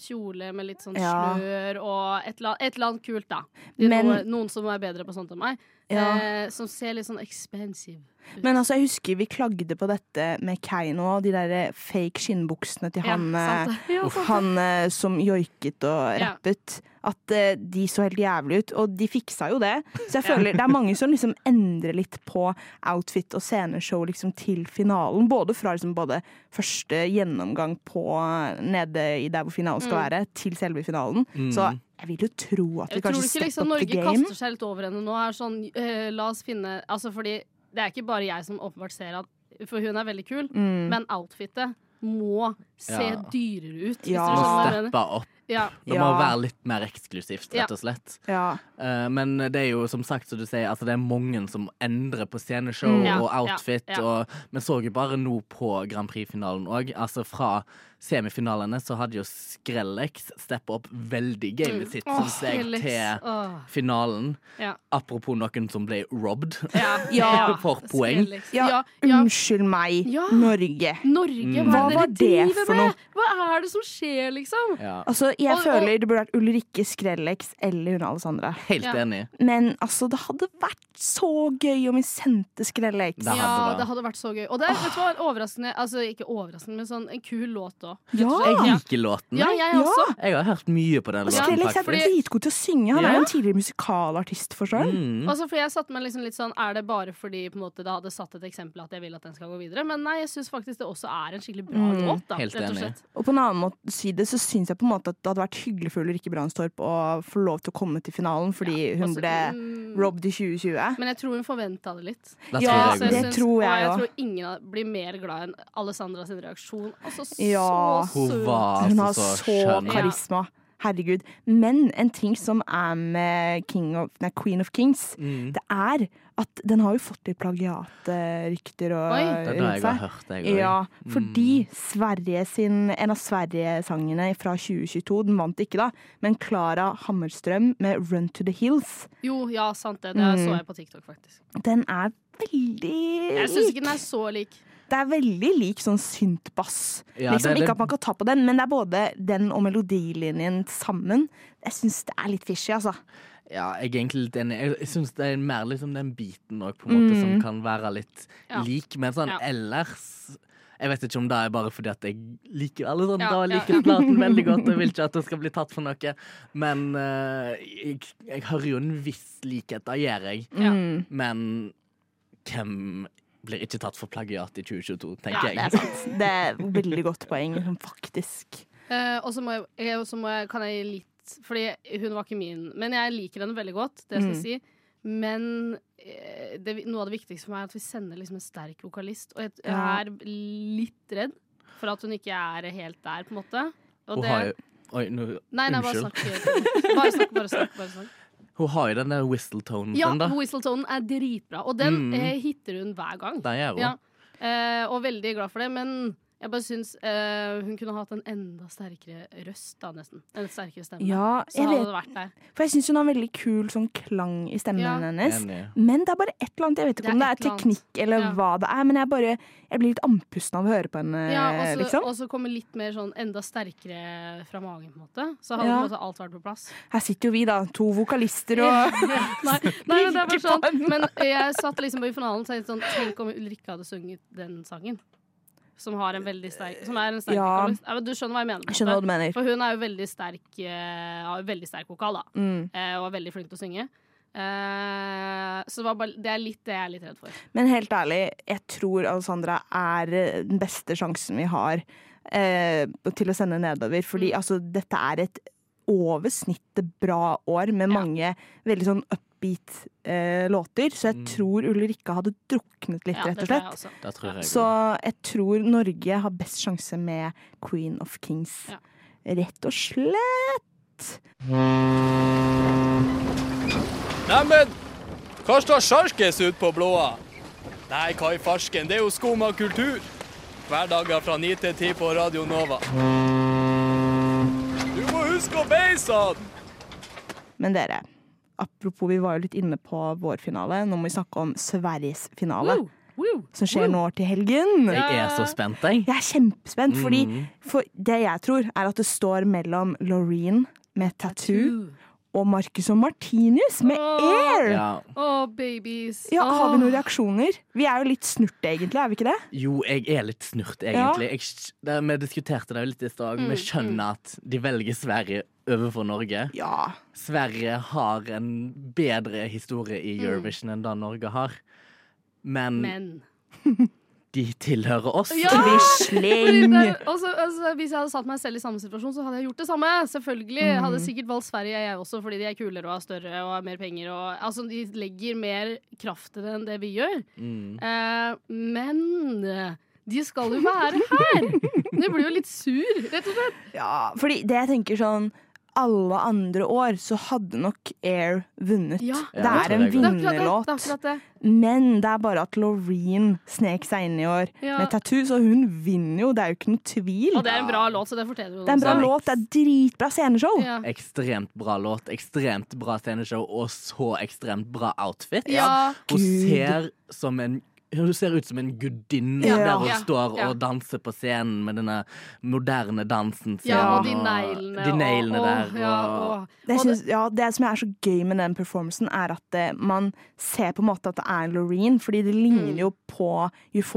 A: kjole med litt sånn
B: Ja.
A: slør og et eller, annet- et eller annet kult, da. Det er
B: Men-
A: noe, noen som er bedre på sånt enn meg.
B: Ja.
A: Eh, som ser litt sånn expensive ut.
B: Men altså, jeg husker vi klagde på dette med Keiino og de der fake skinnbuksene til
A: Ja,
B: han,
A: sant det. Ja,
B: eh,
A: sant det.
B: han eh, som joiket og
A: Ja.
B: rappet. At eh, de så helt jævlig ut, og de fiksa jo det.
A: *laughs*
B: Så jeg føler det er mange som liksom endrer litt på outfit og sceneshow liksom til finalen. Både fra liksom både første gjennomgang på eh, nede i der hvor finalen skal være, til selve finalen. Så jeg vil jo tro at
A: Mm. Jeg
B: vi
A: tror
B: kanskje
A: ikke
B: step
A: liksom,
B: up the
A: Norge
B: game.
A: kaster seg litt over henne nå. Er sånn, eh, la oss finne Altså fordi det er ikke bare jeg som åpenbart ser at For hun er veldig
B: Mm.
A: kul, men outfitet må se
C: Ja.
A: dyrere ut. Hvis
B: Ja.
A: du skjønner hva jeg mener.
C: Steppa opp
A: Ja.
C: Det må
B: Ja.
C: være litt mer eksklusivt,
A: Ja.
C: rett og slett.
B: Ja.
C: Eh, men det er jo som sagt, som du sier, altså det er mange som endrer på sceneshow
A: Mm. Ja,
C: og
A: ja,
C: outfit.
A: ja.
C: Og, men så jo bare nå på Grand Prix-finalen òg. Altså fra semifinalene så hadde jo Skrellex steppet opp veldig gamet sitt som
A: Mm. Åh,
C: steg
A: Felix.
C: til
A: Åh,
C: finalen.
A: Ja.
C: Apropos noen som ble robbed. *laughs*
A: *laughs* Ja.
B: Ja.
C: For poeng.
A: Felix.
B: Ja,
A: liksom- Ja, ja.
B: Unnskyld meg,
A: Ja.
B: Norge.
A: Norge, hva,
B: Hva
A: er
B: var
A: det
B: det
A: dere driver
B: for
A: med? Hva er det som skjer, liksom?
C: Ja.
B: Altså, jeg
A: Og- og-
B: føler det burde vært Ulrikke Skrellex eller hun Alessandra.
C: Helt
A: Ja.
C: enig.
B: Men altså, det hadde vært så gøy om vi sendte Skrellex.
C: Det hadde
A: ja,
C: vært-
A: det hadde vært så gøy. Og det er vet du hva, overraskende Altså ikke overraskende, men sånn en kul låt òg.
B: Ja.
C: Jeg liker låten.
A: Ja, jeg
B: Ja.
A: også.
C: Jeg har hørt mye på den
B: Og
C: låten,
B: Skrellex er
C: faktisk.
B: dritgod til å synge. Han er
C: Ja.
B: jo en tidligere musikalartist, for sjøl.
C: Mm.
A: Altså, for jeg satte meg liksom litt sånn Er det bare fordi på en måte, det hadde satt et eksempel at jeg vil at den skal gå videre? Men nei, jeg syns faktisk det også er en skikkelig bra
B: Mm,
A: låt, da.
C: helt
A: rett og
C: enig.
A: slett.
B: Og på en annen måte side så syns jeg på en måte at det hadde vært hyggelig for Ulrikke Brandstorp å få lov til å komme til finalen, fordi hun
A: Altså,
B: ble
A: mm,
B: robbed i 2020.
A: Men jeg tror hun forventa det litt.
C: Da
B: Ja,
A: Så
C: tror jeg
B: det
A: syns-
B: tror
A: og
B: jeg
A: altså, jeg
B: også.
A: tror ingen av- blir mer glad enn Alessandra sin reaksjon. Altså,
B: Ja.
A: så
C: Hun
A: søt.
C: var
B: Hun
C: altså
B: har
C: så
B: så
C: skjønn.
A: Ja.
B: karisma. Herregud. Men en ting som er med King of, nei, Queen of Kings,
C: Mm.
B: det er at den har jo fått litt plagiatrykter og
A: Oi.
C: Det er da jeg har hørt det, jeg
B: Ja,
C: òg.
B: fordi Sverige sin, en av Sverige-sangene fra 2022, den vant ikke da, men Klara Hammerstrøm med 'Run to the Hills',
A: Jo, ja, sant det. Det så
B: Mm.
A: jeg på TikTok, faktisk.
B: den er veldig
A: Jeg syns ikke den er så lik.
B: Det er veldig lik sånn syntbass.
C: Ja,
B: liksom,
C: det- det-
B: Ikke at man kan ta på den, men det er både den og melodilinjen sammen. Jeg syns det er litt fishy, altså.
C: Ja, jeg er egentlig litt enig. Jeg- Jeg syns det er mer liksom den biten òg, på en måte, som kan være litt
A: Mm. Ja.
C: lik. Men sånn
A: Ja.
C: ellers Jeg vet ikke om det er bare fordi at jeg liker alle sånn.
A: Ja,
C: da
A: ja,
C: liker jeg platen veldig
A: *laughs*
C: godt. Jeg vil ikke at det skal bli tatt for noe. Men eh, jeg, jeg hører jo en viss likhet, da gjør jeg.
A: Ja.
B: Mm.
C: Men hvem blir ikke tatt for plagiat i 2022,
A: Ja,
C: tenker
A: det er
C: jeg.
B: Det er et veldig godt poeng, liksom, faktisk.
A: Eh, og så må jeg, jeg, og så må jeg, kan jeg litt Fordi hun var ikke min, men jeg liker henne veldig godt. Det skal
B: Mm.
A: jeg si. Men eh, det, noe av det viktigste for meg er at vi sender liksom en sterk vokalist. Og jeg, jeg
B: Ja.
A: er litt redd for at hun ikke er helt der, på en måte. Og
C: Hun
A: det-
C: har jo Oi, nå
A: nei, nei, bare
C: unnskyld.
A: snakk. Bare snakk, bare snakk. Bare snakk.
C: Hun har jo den der whistletonen
A: Ja,
C: sin, da.
A: Whistletonen er dritbra, og den
C: Mm.
A: eh, hitter hun hver gang.
C: Den gjør hun.
A: Ja. Eh, og veldig glad for det, men jeg bare syns eh, hun kunne hatt en enda sterkere røst, da, nesten. En sterkere stemme.
B: Ja,
A: Så
B: jeg
A: hadde
B: vet,
A: det vært der.
B: for jeg syns hun har veldig kul sånn klang i stemmen
A: Ja.
B: hennes.
C: Enig.
B: Men det er bare et eller annet. Jeg vet
A: Det
B: ikke
A: er
B: om det
A: et
B: er
A: eller annet.
B: teknikk eller
A: Ja.
B: hva det er, men jeg bare Jeg blir litt andpusten av å høre på henne,
A: Ja, altså, og så-
B: liksom.
A: og så kommer litt mer sånn enda sterkere fra magen, på en måte. Så hadde
B: Ja.
A: på en måte alt vært på plass.
B: Her sitter jo vi, da. To vokalister og
A: *laughs* nei, nei, men det er bare
B: Ikke på
A: sånn
B: den.
A: Men jeg satt liksom i finalen og tenkte sånn Tenk om Ulrikke hadde sunget den sangen. Som, har en veldig sterk, som er en sterk
B: Ja.
A: vokalist. Ja, men du skjønner hva jeg mener. på en
B: Jeg *laughs* skjønner
A: måte.
B: hva du mener.
A: For hun er jo veldig sterk, eh, har jo veldig sterk vokal, da.
B: Mm.
A: Eh, og er veldig flink til å synge. Eh, så det, var bare, det er litt det jeg er litt redd for.
B: Men helt ærlig, jeg tror Alessandra er eh, den beste sjansen vi har eh, til å sende nedover.
A: Mm.
B: Fordi altså, dette er et over snittet bra år med
A: Ja.
B: mange veldig sånn upbeat eh, låter. Så jeg
C: Mm.
B: tror Ulrikka hadde druknet litt,
A: Ja,
B: rett
A: det tror
B: og
A: jeg
B: slett.
A: også.
C: Da tror jeg
B: Så jeg tror Norge har best sjanse med Queen of Kings.
A: Ja.
B: Rett og slett.
H: Neimen, hva står sjarkes ut på blåa? Nei, hva i farsken, det er jo skum av kultur. Hverdager fra 9 til 10 på Radio Nova. Du må huske å beise den!
B: Men dere, apropos vi var jo litt inne på vår finale. Nå må vi snakke om Sveriges finale.
A: Woo, woo,
B: som skjer
A: woo.
B: nå til helgen.
C: Jeg er så spent, jeg.
B: Jeg er kjempespent, fordi
C: Mhm.
B: for det jeg tror, er at det står mellom Laureen med Tattoo og Marcus og Martinus med
A: Åh.
B: Air. Ja.
C: Ja.
A: Åh, babies.
B: Har vi noen
A: Åh.
B: reaksjoner? Vi er jo litt snurte, egentlig. er vi ikke det?
C: Jo, jeg er litt snurt, egentlig. Jeg, sk- det, vi diskuterte det jo litt i stad. Vi skjønner at de velger Sverige overfor Norge.
B: Ja.
C: Sverige har en bedre historie i Eurovision enn det Norge har. Men,
A: Men
C: de tilhører oss.
B: Ah!
A: Ja! Fordi
B: Quisling.
A: det- altså, altså, hvis jeg hadde satt meg selv i samme situasjon, så hadde jeg gjort det samme. Selvfølgelig
B: Mm.
A: hadde jeg sikkert valgt Sverige, jeg også, fordi de er kulere og har større og har mer penger. Og, altså, de legger mer kraft i det enn det vi gjør.
C: Mm.
A: Eh, men De skal jo være her! Det blir jo litt sur, rett og slett.
B: Ja, fordi det jeg tenker sånn alle andre år så hadde nok Air vunnet.
A: Ja.
B: det er
A: Det er akkurat
C: det er
B: en
A: det. det, er
B: vinnerlåt.
A: akkurat det.
B: Men det er bare at Laureen snek seg inn i år
A: Ja.
B: med tattoo, så hun vinner jo. Det er jo ikke noen tvil.
A: Og det er en bra låt, så det fortjener hun.
B: Det er en bra
A: også.
B: låt, det er dritbra sceneshow.
A: Ja.
C: Ekstremt bra låt, ekstremt bra sceneshow og så ekstremt bra outfit.
A: Ja.
C: Hun
B: Gud.
C: ser som en hun ser ut som en gudinne
B: Ja.
C: der hun
A: Ja,
C: står
A: ja.
C: og danser på scenen med denne moderne dansen sin.
A: Ja, og de neglene.
C: de neglene
A: og,
C: der. Og,
A: Ja, og,
B: Det,
A: og
B: synes, ja, det som er så gøy med den performancen, er at eh, man ser på en måte at det er Loreen, fordi det
A: Mm.
B: ligner jo på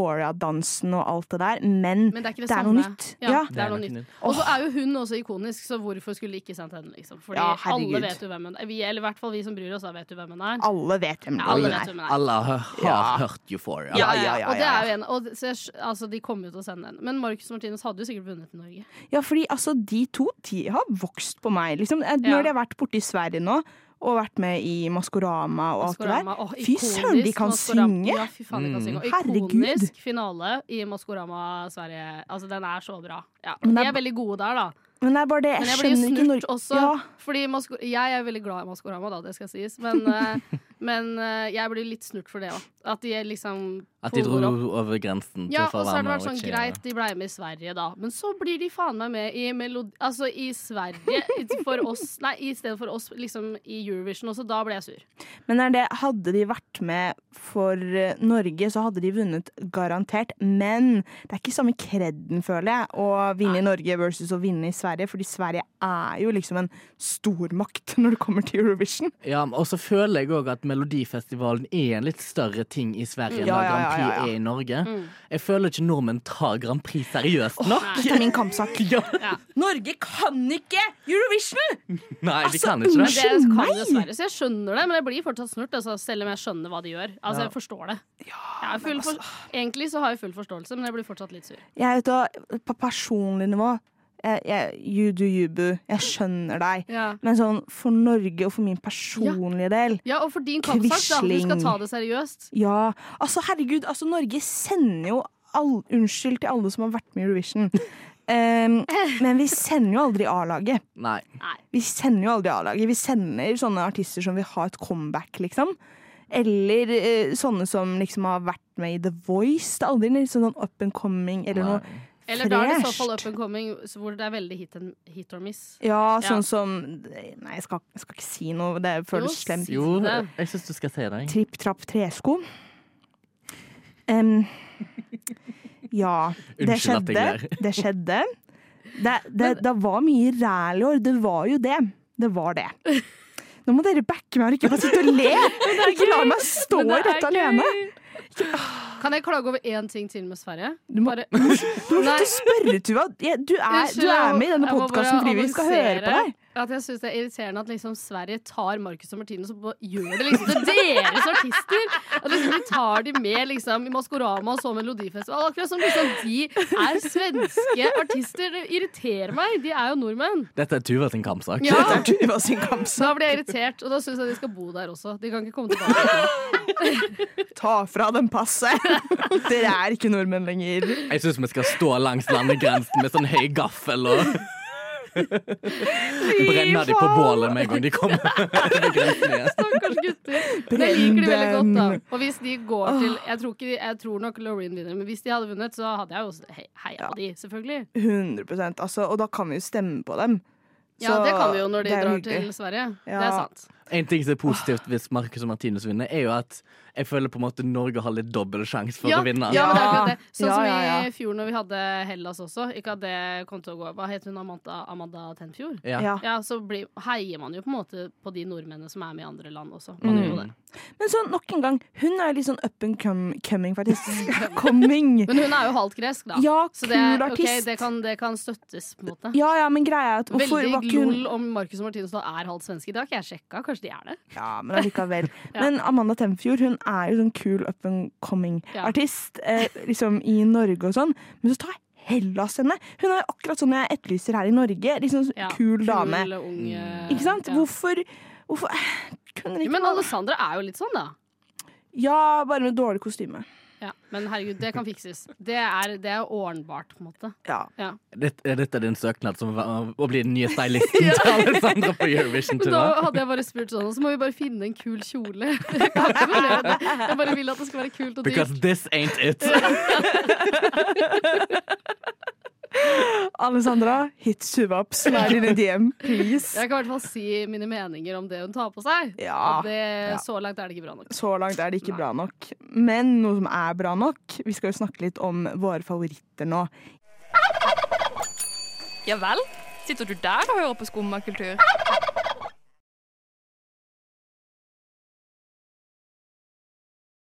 B: Euphoria-dansen og alt det der, men,
A: Men det er ikke det,
B: noe
A: samme.
B: nytt.
A: Ja,
B: Ja.
A: det er noe nytt. Og så er jo hun også ikonisk, så hvorfor skulle ikke sendt henne? Liksom? Fordi
B: Ja, herregud.
A: alle vet jo hvem hun er. Vi, eller i hvert fall vi som bryr oss, da vet jo hvem hun er.
B: Alle vet hvem
A: Ja,
B: Loreen
A: alle
B: er.
A: vet hvem hun er.
C: Alle har, har hørt Euphoria.
B: Ja, ja, ja,
A: Og det
B: ja,
A: er jo en, og, så jeg, skj- altså, de kommer jo til å sende den. Men Marcus Martinus hadde jo sikkert vunnet i Norge.
B: Ja, fordi altså, de to de har vokst på meg. Liksom. Eh, Når
A: Ja.
B: de har vært borte i Sverige nå, og vært med i Maskorama og alt det
A: Maskorama.
B: der.
A: Åh,
B: Fy
A: ikonisk
B: søren, de kan
A: Maskorama.
B: synge!
A: Ja, fy faen, de
C: Mm.
A: kan synge. Og
B: Herregud.
A: ikonisk finale i Maskorama Sverige. Altså, den er så bra. Ja.
B: Men
A: De
B: det er
A: er veldig gode der, da.
B: Men det er bare det,
A: Men
B: jeg
A: jeg blir jo
B: skjønner ikke
A: snurt
B: Norge
A: også.
B: Ja,
A: Fordi Masko jeg er veldig glad i Maskorama, da, det skal sies. Men,
B: *laughs*
A: eh, men eh, jeg blir litt snurt for det òg. At de liksom
C: At de dro
A: puller opp.
C: over grensen til
A: Ja,
C: å få
A: og så
C: være
A: har det
C: med
A: vært sånn
C: cheere.
A: greit, de blei med i Sverige, da. Men så blir de faen meg med i melodi... Altså i Sverige for oss Nei, i stedet for oss liksom i Eurovision også. Da ble jeg sur.
B: men det er det, hadde de vært med for eh, Norge, så hadde de vunnet garantert. Men det er ikke samme kredden, føler jeg, å vinne i Norge versus å vinne i Sverige. Fordi Sverige er jo liksom en stormakt *laughs* når det kommer til Eurovision.
C: Ja, og så føler jeg òg at Melodifestivalen er en litt større ting i Sverige enn
B: Ja,
C: hva
B: ja,
C: Grand
B: ja,
C: Prix
B: ja, ja.
C: er i Norge.
A: Mm.
C: Jeg føler ikke nordmenn tar Grand Prix seriøst nok.
B: Dette er min kampsak. *laughs*
C: Ja.
B: Norge kan ikke Eurovision!
C: Nei, de
B: Altså,
C: kan ikke det.
A: Men det
B: Unnskyld
A: kan
B: meg!
A: dessverre, så jeg skjønner det, men jeg blir fortsatt snurt, altså, selv om jeg skjønner hva de gjør. Altså, jeg forstår det. Jeg er full
B: altså.
A: for, egentlig så har jeg full forståelse, men jeg blir fortsatt litt sur.
B: Jeg vet da, på personlig nivå jeg, jeg, You do you boo. Jeg skjønner deg.
A: Ja.
B: Men sånn for Norge og for min personlige del
A: Ja, og for din kampsak, da. Du
B: Quisling.
A: skal ta det seriøst.
B: Ja, altså herregud, altså Norge sender jo all, Unnskyld til alle som har vært med
A: *laughs*
B: i Eurovision. Em, men vi sender jo aldri A-laget.
C: Nei.
B: Vi sender jo aldri A-laget. Vi sender sånne artister som vil ha et comeback, liksom. Eller eh, sånne som liksom har vært med i The Voice. Det er aldri liksom sånn up and coming eller noe
C: Nei.
A: Eller da er det i så fall up
B: Fresht.
A: and coming, så hvor det er veldig hit, and, hit or miss.
B: Ja, sånn
A: Ja.
B: som Nei, jeg skal, jeg skal ikke si noe, det føles
A: Jo,
B: slemt.
A: si-
C: Jo, jeg syns du skal se deg.
B: Tripp, trapp, tresko. Em, ja, det
C: Unnskyld at jeg
B: skjedde.
C: ler.
B: Det skjedde. Det, det, det var mye ræl i år. Det var jo det. Det var det. Nå må dere backe meg og ikke bare sitte og le! Ikke la meg stå
A: Men
B: i
A: det er
B: dette
A: gøy.
B: alene.
A: Kan jeg klage over én ting til med Sverige?
B: Du må- *laughs*
A: Bare-
B: Du må
A: Nei.
B: slutte å spørre, Tuva. Jeg- Du er, du er med i denne
A: Jeg må bare
B: podkasten fordi vi skal høre på
A: annonsere
B: deg.
A: At jeg syns det er irriterende at liksom Sverige tar Marcus og Martinus og bare gjør det liksom til deres artister. At liksom de tar de med liksom i Maskorama og så Melodifestival. Akkurat som liksom de er svenske artister. Det irriterer meg. De er jo nordmenn.
C: Dette er Tuva sin kampsak.
A: Ja.
B: Dette er Tuva sin kampsak.
A: Da blir jeg irritert, og da syns jeg de skal bo der også. De kan ikke komme tilbake.
B: Ta fra dem passet! *laughs* Dere er ikke nordmenn lenger.
C: Jeg syns vi skal stå langs landegrensen med sånn høy gaffel og Brenne de på bålet med en gang de kommer over grensen igjen.
A: Stakkars gutter. Men jeg liker de veldig godt, da. Og hvis de går til Jeg tror, ikke, jeg tror nok Loreen vinner, men hvis de hadde vunnet, så hadde jeg jo he- heia på de, selvfølgelig.
B: 100 altså, Og da kan vi jo stemme på dem.
A: Ja,
B: Så
A: det kan vi jo når de
B: det er
A: drar
B: hyggelig.
A: til Sverige.
B: Ja.
A: Det er sant.
C: En ting som er positivt hvis Marcus og Martinus vinner, er jo at jeg føler på en måte Norge har litt dobbel sjanse for
A: ja,
C: å vinne.
A: ja, men det er
B: Ja.
A: akkurat det. Sånn
B: Ja,
A: som
B: ja, ja.
A: i fjor når vi hadde Hellas også. Ikke at det kom til å gå Hva het hun? Amanda, Amanda Tenfjord?
C: Ja.
B: Ja.
A: Ja, så blir, heier man jo på en måte på de nordmennene som er med i andre land også. Man
C: Mm.
A: gjør jo det.
B: Men så nok en gang, hun er jo litt sånn up and com coming,
A: *laughs*
B: faktisk. *laughs* Coming!
A: Men hun er jo halvt gresk, da.
B: Ja,
A: så det, er-
B: kul
A: ok,
B: artist.
A: det, kan, det kan støttes, på en måte.
B: Ja, ja, men greia er at hvorfor var
A: Veldig
B: ikke hun
A: lol om Marcus og Martinus da er halvt svenske. Det har ikke jeg sjekka. Kanskje de er det?
B: Ja,
A: *laughs*
B: men allikevel. Men Amanda Temfjord hun er jo sånn kul up and
A: Ja.
B: coming-artist eh, liksom i Norge og sånn. Men så tar Hellas henne! Hun er jo akkurat sånn jeg etterlyser her i Norge. Liksom
A: Ja,
B: kul dame.
A: ung,
C: Mm.
A: eh,
B: Ikke sant?
A: ja.
B: Hvorfor, hvorfor kunne det
A: Ja,
B: ikke
A: Men
B: være-
A: Alessandra er jo litt sånn, da.
B: Ja, bare med dårlig kostyme.
A: Ja, men herregud, det kan fikses. Det er, det er ordnbart, på en måte.
B: Ja.
A: Ja.
C: Dette, er dette din søknad som var- å bli den
A: *laughs*
C: nye stylisten til Alexandra på Eurovision?
A: Men da
C: Tuva?
A: hadde jeg bare spurt sånn, og så må vi bare finne en kul kjole. *laughs* Jeg kan ikke vurdere det. Jeg bare vil at det skal være kult og dyrt.
C: Because this ain't it.
B: Alessandra, hit Tuva opp. Slide in a DM, please.
A: Jeg kan i hvert fall si mine meninger om det hun tar på seg.
B: Ja.
A: Og det,
B: Ja.
A: Så langt er det ikke bra nok.
B: Så langt er det ikke
A: Nei.
B: bra nok. Men noe som er bra nok Vi skal jo snakke litt om våre favoritter nå.
D: Ja vel? Sitter du der og hører på skummakultur?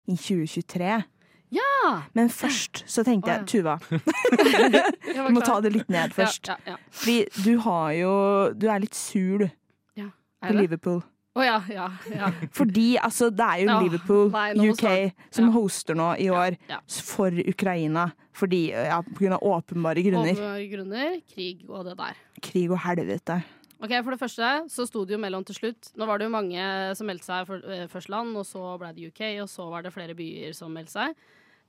B: I 2023.
A: Ja,
B: Men først så tenkte jeg,
A: Å,
B: Tuva,
A: jeg
B: du
A: var
B: må ta
A: klar.
B: det litt ned først.
A: Ja, ja, ja.
B: Fordi du har jo Du er litt sur, du, på
A: Er det?
B: Liverpool.
A: Å ja, ja, ja.
B: Fordi altså, det er jo
A: Ja,
B: Liverpool,
A: nei, nå må
B: UK,
A: snart-
B: som
A: ja.
B: hoster nå i år
A: ja.
B: for Ukraina. Fordi, ja, på grunn av åpenbare grunner.
A: Åpenbare grunner, krig og det der.
B: Krig og helvete.
A: Ok, For det første så sto det jo mellom til slutt. Nå var det jo mange som meldte seg for, eh, først land, og så ble det UK, og så var det flere byer som meldte seg.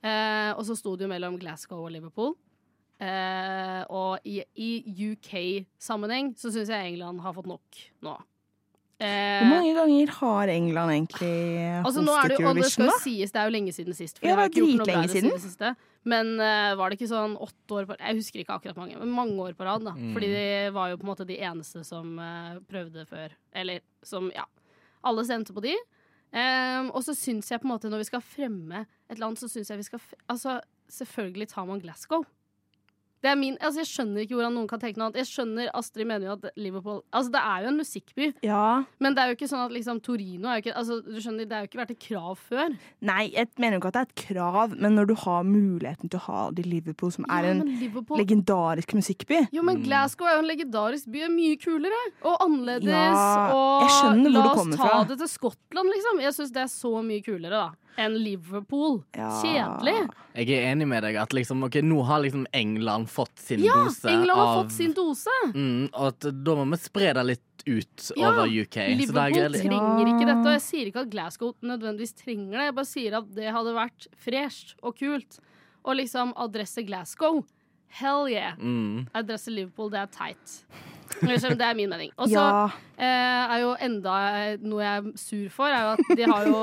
A: Eh, og så sto det jo mellom Glasgow og Liverpool. Eh, og i, i UK-sammenheng så syns jeg England har fått nok nå. Eh,
B: Hvor mange ganger har England egentlig
A: Altså, nå er
B: hostet
A: det, jo- og det
B: Eurovision,
A: skal jo
B: eh, da?
A: sies, det er jo lenge siden sist. for
B: Ja,
A: jeg har
B: det er
A: ikke gjort noe
B: dritlenge
A: bedre
B: siden.
A: det siste. Men eh, var det ikke sånn åtte år på Jeg husker ikke akkurat mange, men mange år på rad. da Fordi de var jo på en måte de eneste som eh, prøvde før. Eller som Ja. Alle stemte på de. Ehm, og så syns jeg på en måte når vi skal fremme et land, så syns jeg vi skal f Altså, selvfølgelig tar man Glasgow. Det er min, altså Jeg skjønner ikke hvordan noen kan tenke noe annet. Jeg skjønner, Astrid mener jo at Liverpool Altså, det er jo en musikkby.
B: Ja.
A: Men det er jo ikke sånn at liksom, Torino er jo ikke, altså, du skjønner, Det er jo ikke vært et krav før.
B: Nei, jeg mener jo ikke at det er et krav, men når du har muligheten til å ha det i Liverpool, som er
A: ja,
B: en
A: men Liverpool
B: legendarisk musikkby
A: Jo,
C: Mm.
A: men Glasgow er jo en legendarisk by. er Mye kulere og annerledes.
B: Ja,
A: og
B: jeg skjønner hvor
A: la
B: du
A: oss
B: kommer
A: ta
B: fra.
A: det til Skottland, liksom. Jeg syns det er så mye kulere da enn Liverpool.
B: Ja.
A: Kjedelig.
C: Jeg er enig med deg at liksom, ok, nå har liksom England fått sin
A: Ja,
C: dose
A: England har
C: av
A: fått sin dose.
C: mm, Og at da må vi spre det litt ut
A: Ja,
C: over UK. Så da er
A: Liverpool
C: jeg litt-
A: trenger ikke
B: Ja.
A: dette. Og jeg sier ikke at Glasgow nødvendigvis trenger det. Jeg bare sier at det hadde vært fresht og kult. Og liksom adresse Glasgow. Hell yeah.
C: mm.
A: Adresse Liverpool, det er teit. Liksom, Det er min mening. Og så
B: Ja,
A: eh, er jo enda eh, noe jeg er sur for, er jo at de har jo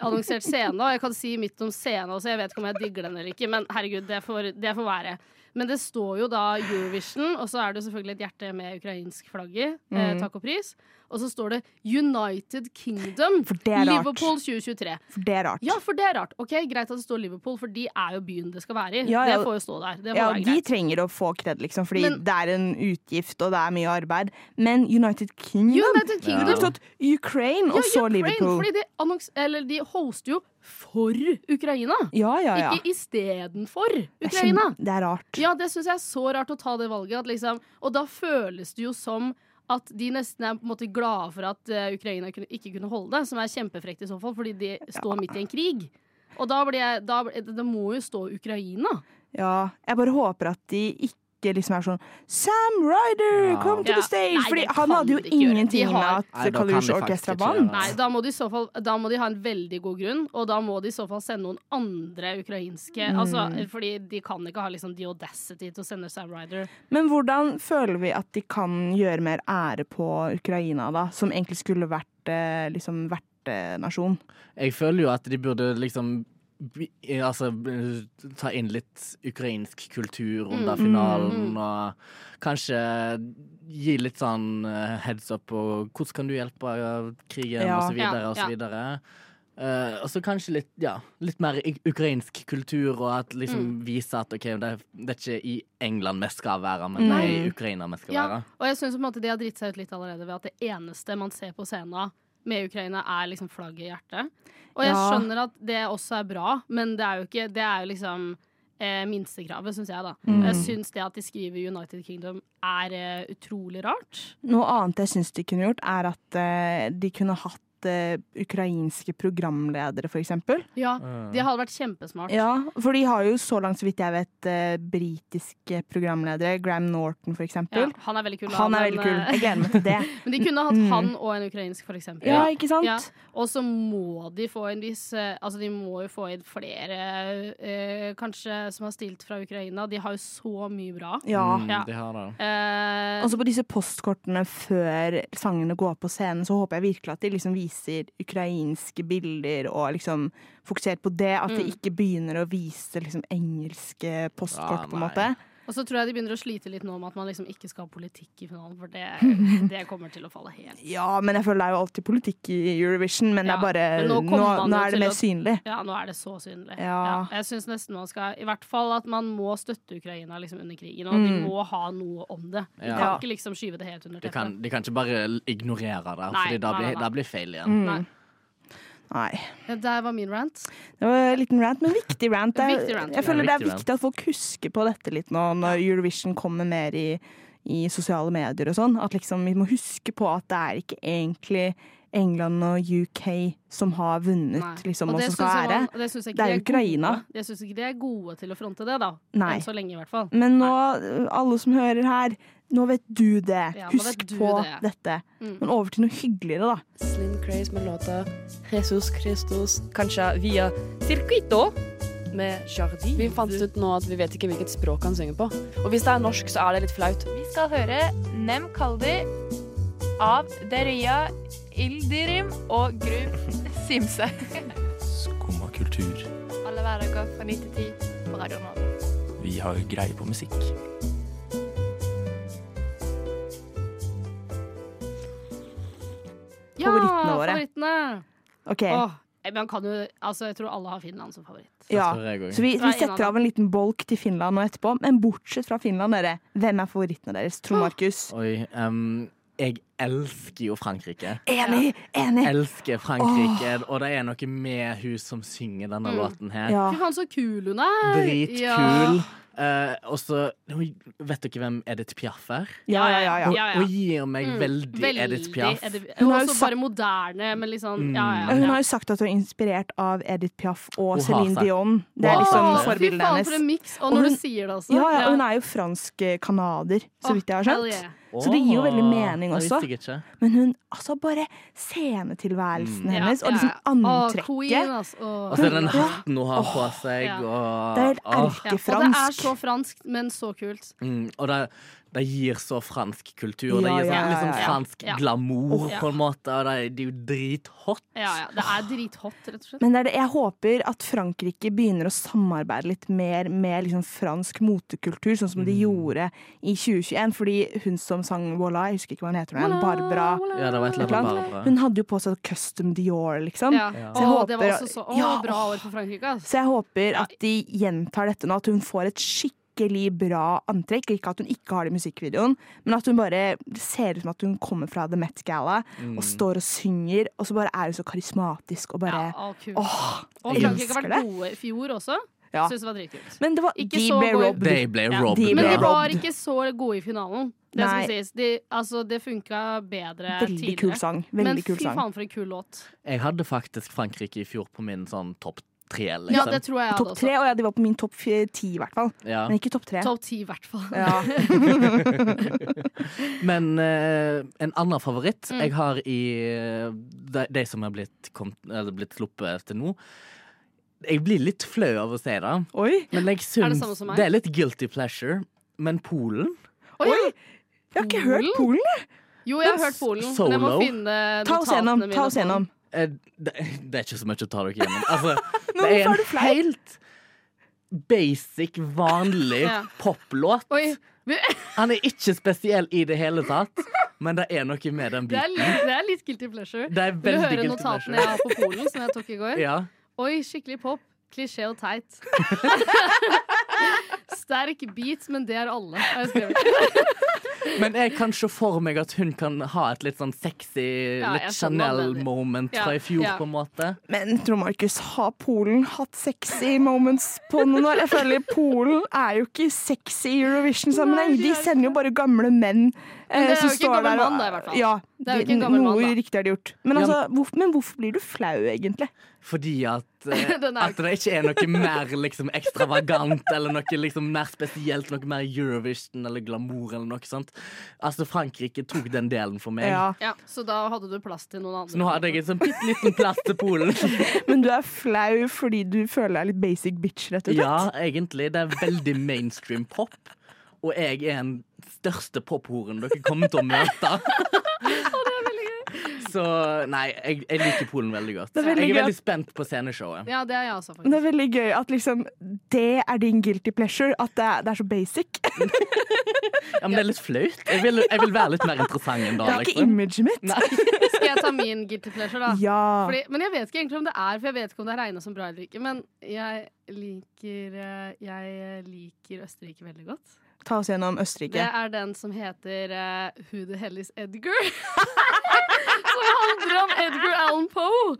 A: annonsert scene, og jeg kan si mitt om scene også, jeg vet ikke om jeg digger den eller ikke, men herregud, det får, det får være. Men det står jo da Eurovision, og så er det jo selvfølgelig et hjerte med ukrainsk flagg i. Eh,
B: Mhm.
A: takk og pris. Og så står det United Kingdom.
B: For det er rart.
A: Liverpool 2023.
B: for det er rart.
A: Ja, for det er rart. Ok, Greit at det står Liverpool, for de er jo byen det skal være i.
B: Ja, ja.
A: Det får jo stå der. Det får
B: Ja,
A: være
B: de
A: greit.
B: trenger å få kred, liksom, fordi
A: Men-
B: det er en utgift og det er mye arbeid. Men United Kingdom
A: United
B: Det
A: Kingdom
B: burde stått Ukraine, og så
A: Ukraine,
B: Liverpool.
A: Fordi de, annons, eller de hoster jo for Ukraina,
B: Ja, ja, ja.
A: ikke istedenfor
B: Det er
A: Ukraina.
B: kjempe- Det er rart.
A: Ja, det syns jeg er så rart å ta det valget. At liksom, og da føles det jo som at de nesten er på en måte glade for at eh, Ukraina kunne, ikke kunne holde det, som er kjempefrekt i så fall, fordi de står midt i en krig. Og da blir jeg da, blir- det, det må jo stå Ukraina.
B: Ja, jeg bare håper at de ikke liksom er sånn Sam Ryder,
C: Ja.
B: come to
A: Ja.
B: the stage!
A: Nei, det
B: Fordi
A: kan
B: han hadde jo
A: de ikke gjøre. De
B: ingenting
A: har-
B: med
C: Nei,
B: at
C: da kan de
B: Kalush
C: faktisk
B: Orkestra
C: ikke gjøre
B: vant.
C: det.
A: Nei, da må, de i så fall, da må de ha en veldig god grunn, og da må de i så fall sende noen andre ukrainske altså, Fordi de kan ikke ha liksom, the audacity til å sende Sam Ryder.
B: Men hvordan føler vi at de kan gjøre mer ære på Ukraina, da? Som egentlig skulle vært eh, liksom vertenasjon.
C: Jeg føler jo at de burde liksom bi- Altså ta inn litt ukrainsk kultur under
A: Mm.
C: finalen,
A: Mm.
C: og kanskje gi litt sånn eh, heads up på hvordan kan du hjelpe av krigen,
B: Ja.
C: og så videre,
A: Ja,
C: og
A: ja.
C: så videre. Eh, og så kanskje litt, ja, litt mer ik- ukrainsk kultur, og at liksom
A: Mm.
C: vise at OK, det, er- det er ikke i England vi skal være, men det er i
B: Mm.
C: Ukraina vi skal
A: Ja,
C: være.
A: og jeg syns de har dritt seg ut litt allerede ved at det eneste man ser på scenen med Ukraina, er liksom flagget i hjertet. Og jeg
B: Ja.
A: skjønner at det også er bra, men det er jo ikke Det er jo liksom eh, minstekravet, syns jeg, da. Jeg syns det at de skriver United Kingdom er eh, utrolig rart.
B: Noe annet jeg syns de kunne gjort, er at eh, de kunne hatt hatt eh, ukrainske programledere, for eksempel.
A: Ja, det hadde vært kjempesmart.
B: Ja, for de har jo så langt, så vidt jeg vet, eh, britiske programledere. Graham Norton, for
A: Ja,
B: eksempel.
A: han er veldig kul.
B: Han er
A: men,
B: veldig kul.
A: eh,
B: Jeg gleder meg til
A: *laughs*
B: det. Mm.
A: Men de kunne hatt han og en ukrainsk, for eksempel.
B: Ja, ikke sant?
A: Ja, Og så må de få inn hvis eh, Altså, de må jo få inn flere, eh, kanskje, som har stilt fra Ukraina. De har jo så mye bra.
B: Ja.
C: Mm,
A: Ja.
C: de har det.
A: Eh,
B: Og så på disse postkortene før sangene går på scenen, så håper jeg virkelig at de liksom viser ukrainske bilder og liksom fokusert på det. At de
A: Mm.
B: ikke begynner å vise liksom engelske postkort,
C: Ah,
B: på en
C: nei.
B: måte.
A: og så tror jeg de begynner å slite litt nå med at man liksom ikke skal ha politikk i finalen, for det,
B: *laughs*
A: det kommer til å falle helt.
B: Ja, men jeg føler det er jo alltid politikk i Eurovision, men det
A: Ja,
B: er bare
A: men
B: Nå,
A: nå kommer
B: nå,
A: man jo
B: er det
A: til
B: mer
A: å-
B: synlig.
A: Ja, nå er det så synlig.
B: Ja.
A: jeg syns nesten man skal I hvert fall at man må støtte Ukraina liksom under krigen, og de
B: Mm.
A: må ha noe om det. De
C: Ja.
A: kan ikke liksom skyve det helt under
C: De
A: teppet.
C: kan, de kan ikke bare l- ignorere det,
A: Nei,
C: for da
A: nei, nei,
C: blir,
A: nei.
C: da blir feil
B: Mm.
C: igjen.
A: Nei.
B: Nei.
A: Der var min rant.
B: Det var en liten rant, men viktig rant. Det er,
A: Viktig rant.
B: Jeg føler
C: Ja,
B: det er
C: viktig rant.
B: viktig at folk husker på dette litt nå, når Eurovision kommer mer i, i sosiale medier og sånn. At liksom vi må huske på at det er ikke egentlig England og UK som har vunnet,
A: Nei.
B: liksom,
A: Og
B: og
A: det
B: som skal
A: synes jeg
B: ære.
A: man- det synes jeg ikke
B: Det er
A: de
B: Ukraina.
A: Gode. Jeg syns ikke de er gode til å fronte det, da.
B: Nei.
A: Enn så lenge, i hvert fall.
B: Men nå, alle som hører her, nå vet du det.
A: Ja, nå
B: Husk
A: vet du
B: på
A: det.
B: dette.
A: Mm.
B: Men over til noe hyggeligere, da.
D: Slim Craze med låta Jesus Christus, kanskje via Circuito med Jardi. Vi fant ut nå at vi vet ikke hvilket språk han synger på. Og hvis det er norsk, så er det litt flaut.
I: Vi skal høre Nem Kaldi av Deria Ildirim og Grub Simse.
E: Skumma kultur.
I: Alle hverdager fra 9 til 10 på Radio Nova.
E: Vi har greie på musikk.
A: Ja,
B: Favorittene våre.
A: favorittene.
B: Ok,
A: Åh, eh, man kan jo, altså, jeg tror alle har Finland som favoritt.
B: ja.
C: tror jeg også.
B: Så vi,
A: Nei,
B: vi setter av en liten bolk til Finland nå etterpå. Men bortsett fra Finland, dere. Hvem er favorittene deres? Trond Markus.
C: Oi, em, jeg elsker jo Frankrike.
B: Enig! Enig!
C: Elsker Frankrike, og det er noe med hun som synger denne låten her.
B: Ja.
A: Fy faen, så kul hun er!
C: Dritkul.
A: Mm. Ja.
C: Eh, og så Oi, Vet dere hvem Edith Piaf er?
B: Ja, ja, ja. ja.
C: Hun,
A: Ja, ja.
C: hun gir meg
A: Mm,
C: veldig, Edith Piaf.
A: Edith-
B: Hun har jo
A: Også
B: sagt-
A: bare moderne, men liksom ja, ja,
B: Hun
A: ja.
B: har jo sagt at hun er inspirert av Edith Piaf og
C: har
B: Céline
C: sagt-
B: Dion. Det er
C: Wow.
B: liksom
A: Åh, Fy
B: forbildet
A: faen, for en
B: hennes.
A: miks! Og
B: Og
A: når
B: hun-
A: du sier det også.
B: Ja, ja, og hun er jo fransk-canader, så
A: Åh,
B: vidt jeg har
A: hell
B: skjønt.
A: yeah.
B: Så det gir jo veldig
C: Åh,
B: mening
C: det
B: også.
C: visste jeg ikke.
B: Men hun, altså bare scenetilværelsen
C: Mm.
B: hennes,
A: Ja,
B: og
A: ja,
B: liksom
A: ja. Åh, Queen,
B: antrekket.
A: altså. Åh.
C: Og så er det den
B: Ja.
C: hatten hun har på seg,
A: Ja.
C: og
B: Det er helt
C: Åh.
A: Ja, og det er
B: fransk.
A: så fransk, men så kult.
C: Mm, og det, det gir så fransk kultur. det
B: Ja,
C: gir sånn,
B: ja, ja,
C: litt sånn
B: ja, ja.
C: fransk
A: Ja.
C: glamour,
A: Ja.
C: på en måte. Og det, er- det er jo drithot.
A: Ja, ja. Det er drithot, rett og slett.
B: Men det er det, jeg håper at Frankrike begynner å samarbeide litt mer med liksom fransk motekultur, sånn som de gjorde i 2021. Fordi hun som sang Voila, jeg husker ikke hva hun heter, nå igjen, Barbara
C: Ja, det var et eller
B: Blant-
C: annet bare bra.
B: Hun hadde jo på seg custom Dior, liksom.
A: Ja.
B: Så jeg
A: Åh, det var
B: håper-
A: også så åh,
B: Ja,
A: bra
B: åh.
A: år for Frankrike. ass.
B: Så jeg håper at de gjentar dette nå, at hun får et skikkelig bra antrekk. Ikke at hun ikke har det i musikkvideoen, men at hun bare det ser ut som at hun kommer fra The Met Gala og
C: Mm.
B: står og synger, og så bare er hun så karismatisk og bare
A: Ja, å, kult.
B: Åh,
A: og
B: jeg
A: Frankrike har
B: elsker
A: vært
B: det.
A: gode i fjor også.
B: Ja.
A: Syns det var dritkult.
B: Men det var
A: Ikke
B: de
A: så
B: ble
A: god-
B: robbed.
C: De ble
B: Ja,
C: robbed.
B: de
A: Men
B: ble
A: de
B: robbed.
A: var ikke så gode i finalen. Det
B: Nei.
A: skal sies. De, altså, det funka bedre
B: Veldig
A: tidligere.
B: kul sang. Veldig
A: men
B: kul
A: fy
B: sang.
A: faen for en kul låt.
C: Jeg hadde faktisk Frankrike i fjor på min sånn topp tre, liksom.
A: Ja, det tror jeg jeg hadde
B: Topp
A: også.
B: tre, og ja, de var på min topp f- ti i hvert fall.
C: Ja.
B: Men ikke topp tre.
A: Topp ti, i hvert
B: *laughs*
A: fall. *laughs*
B: Ja.
C: Men eh, en annen favoritt
A: Mm.
C: jeg har i eh, de, de som er blitt, kom, eller blitt sluppet til nå Jeg blir litt flau av å si det,
B: Oi!
C: men
A: Er
C: jeg
A: det
C: syns
A: samme som meg?
C: det er litt guilty pleasure. Men Polen
A: Oi,
B: Oi! Jeg har ikke hørt Polen, jeg!
A: Jo, jeg har
C: Men
A: hørt Polen, men jeg må
C: solo?
A: finne
B: Ta oss
A: notatene
B: gjennom.
A: mine
B: Ta oss
A: på den.
B: gjennom.
C: Eh, Det, det er ikke så mye å ta dere gjennom.
A: *laughs*
C: Altså,
B: Men
C: det er
B: hvorfor er
C: en
B: du flau?
C: helt basic, vanlig
A: *laughs* Ja.
C: poplåt.
A: Oi, *laughs*
C: Han er ikke spesiell i det hele tatt, men det er noe med den
A: det er,
C: biten.
A: litt, det er litt guilty pleasure.
C: Det er
A: Vil du
C: veldig
A: høre
C: guilty
A: notatene
C: pleasure.
A: jeg har på Polen, som jeg tok
C: *laughs*
A: i går?
C: Ja.
A: Oi, skikkelig pop. Klisjé og
C: *laughs*
A: teit. Sterk beat, men det er alle. har jeg skrevet.
C: Men jeg kan se for meg at hun kan ha et litt sånn sexy
A: Ja, jeg
C: litt
A: skjønner hva du mener.
C: Chanel-moment
A: Ja,
C: fra i fjor,
A: ja.
C: på en måte.
B: Men Trond Markus, har Polen hatt sexy moments på noen år? Jeg føler Polen er jo ikke sexy i Eurovision-sammenheng.
A: Nei, de
B: De
A: er
B: sender jo bare gamle menn
A: Men det er
B: eh, som
A: jo ikke en
B: står
A: gammel
B: der og-
A: mann da, i hvert fall.
B: Ja,
A: Det er jo
B: de-
A: ikke en gammel
B: noe
A: mann, da.
B: riktig er det gjort. Men,
C: Ja,
B: altså, hvorf- men hvorfor blir du flau, egentlig?
C: Fordi at,
A: *laughs*
C: eh,
A: Den er-
C: at det ikke er noe mer liksom, ekstravagant eller noe liksom, mer spesielt, noe mer Eurovision eller glamour eller noe sånt. Altså, Frankrike tok den delen for meg.
B: Ja.
A: Ja, så da hadde du plass til noen andre.
C: Så nå hadde jeg en sånn bitte liten plass til Polen. *laughs*
B: Men du er flau fordi du føler deg litt basic bitch, rett og slett?
C: Ja, egentlig. Det er veldig mainstream pop. Og jeg er den største pophoren dere kommer til å møte. Så nei, jeg, jeg liker Polen veldig godt.
B: Det er veldig
C: jeg er
B: gøy.
C: veldig spent på sceneshowet.
A: Ja, det er jeg også, faktisk.
B: Men det er veldig gøy at liksom det er din guilty pleasure, at det er, det er så basic. Det
C: Ja, men det er litt flaut. Jeg vil, jeg vil være litt mer interessant enn da.
B: er ikke
C: Liksom.
B: imaget mitt.
A: *laughs* Skal jeg ta min guilty pleasure, da?
B: Ja.
A: Fordi, men jeg vet ikke egentlig om det er, for jeg vet ikke om det er regna som bra eller ikke. Men jeg liker, eh, jeg liker Østerrike veldig godt.
B: Ta oss gjennom
A: Det
B: Østerrike.
A: er den som heter eh, Who the Hell is Edgar? *laughs* som handler om Edgar Allan Poe.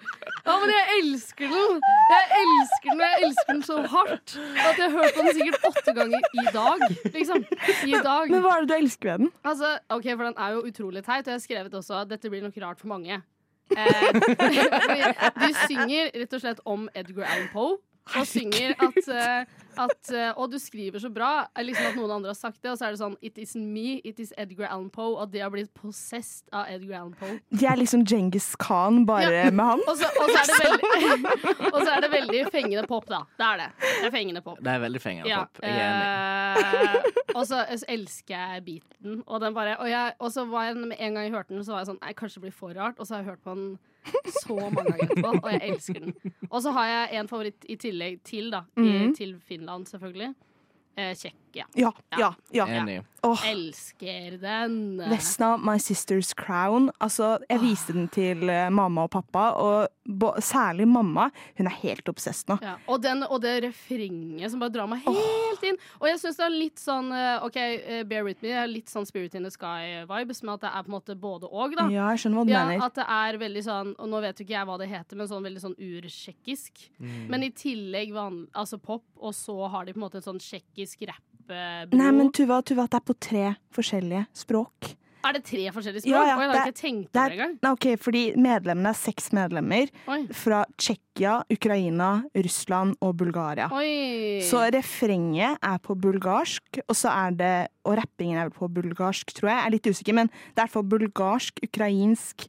A: Ja, men jeg elsker den! Jeg elsker den, og jeg elsker den så hardt at jeg har hørt på den sikkert åtte ganger i dag. Liksom. I dag.
B: Men hva er det du elsker ved den?
A: Altså, ok, for den er jo utrolig teit, og jeg har skrevet også at dette blir nok rart for mange. Eh, *laughs* fordi de synger rett og slett om Edgar Allan Poe. Og synger at, eh, at eh, Og du skriver så bra. eh, Liksom at noen andre har sagt det. Og så er det sånn It isn't me, it is Edgar Allan Poe. At de har blitt possessed av Edgar Allan Poe.
B: De er liksom Genghis Khan, bare
A: Ja.
B: med han.
A: Og så, og, så er det veldig, *laughs* og så er det veldig fengende pop, da. Det er det. Det er fengende pop.
C: Det er veldig fengende
A: Ja,
C: pop. Jeg er enig. *laughs*
A: eh, og så så elsker jeg beaten. Og, den bare, og, jeg, og så var jeg med en gang jeg hørte den, så var jeg sånn Nei, kanskje det blir for rart. Og så har jeg hørt på den så mange ganger etterpå, og jeg elsker den. Og så har jeg en favoritt i tillegg til, da. I,
B: Mhm.
A: til Finland, selvfølgelig. Eh, Tsjekkia.
B: Ja, ja,
A: eh,
B: ja.
C: Enig.
B: Åh,
A: Elsker den.
B: Vesna, My Sister's Crown. Altså, jeg viste den til eh, mamma og pappa, og bo, særlig mamma. Hun er helt obsess nå.
A: Ja, og, den, og det refrenget som bare drar meg helt inn. Og jeg syns det er litt sånn eh, OK, eh, bear with me, det er litt sånn Spirit in the Sky-vibes, men at det er på en måte både og, da.
B: Ja, jeg skjønner hva du
A: Ja,
B: mener.
A: at det er veldig sånn Og nå vet jo ikke jeg hva det heter, men sånn veldig sånn urtsjekkisk.
B: Mm.
A: Men i tillegg van, altså pop, og så har de på en måte en sånn tsjekkisk rappbro.
B: Nei, men Tuva, Tuva, det er på tre forskjellige språk.
A: Er det tre forskjellige språk?
B: Ja, ja,
A: Oi, jeg har
B: det-
A: ikke tenkt
B: det
A: på
B: er-
A: det engang.
B: Nei, ok, fordi medlemmene er seks medlemmer
A: Oi.
B: fra Tsjekkia, Ukraina, Russland og Bulgaria.
A: Oi.
B: Så refrenget er på bulgarsk, og så er det Og rappingen er vel på bulgarsk, tror jeg. Jeg er litt usikker, men det er i hvert fall bulgarsk, ukrainsk,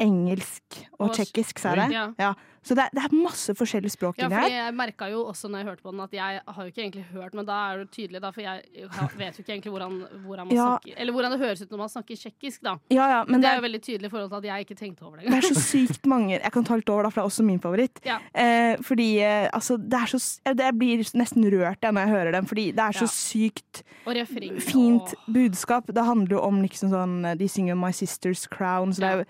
B: engelsk og
A: Og-
B: tsjekkisk, sa jeg det?
A: Ja.
B: Ja. Så det er, det er masse forskjellige språk
A: Ja,
B: inni
A: fordi
B: her.
A: jeg merka jo også når jeg hørte på den, at jeg har jo ikke egentlig hørt, men da er det tydelig, da, for jeg
B: *laughs*
A: har- vet jo ikke egentlig hvordan, hvordan man
B: Ja.
A: snakker Eller hvordan det høres ut når man snakker tsjekkisk, da.
B: Ja, ja, men
A: Det
B: det
A: er jo
B: er,
A: veldig tydelig i forhold til at jeg ikke tenkte over det
B: det
A: engang.
B: er så sykt mange Jeg kan ta litt over, da, for det er også min favoritt.
A: Ja.
B: Eh, fordi eh, altså, det er så s- eh, Jeg blir nesten rørt jeg, når jeg hører dem, fordi det er
A: Ja.
B: så sykt
A: Og refrenget
B: fint
A: og-
B: budskap. Det handler jo om liksom sånn De synger 'My Sister's Crown', så det er jo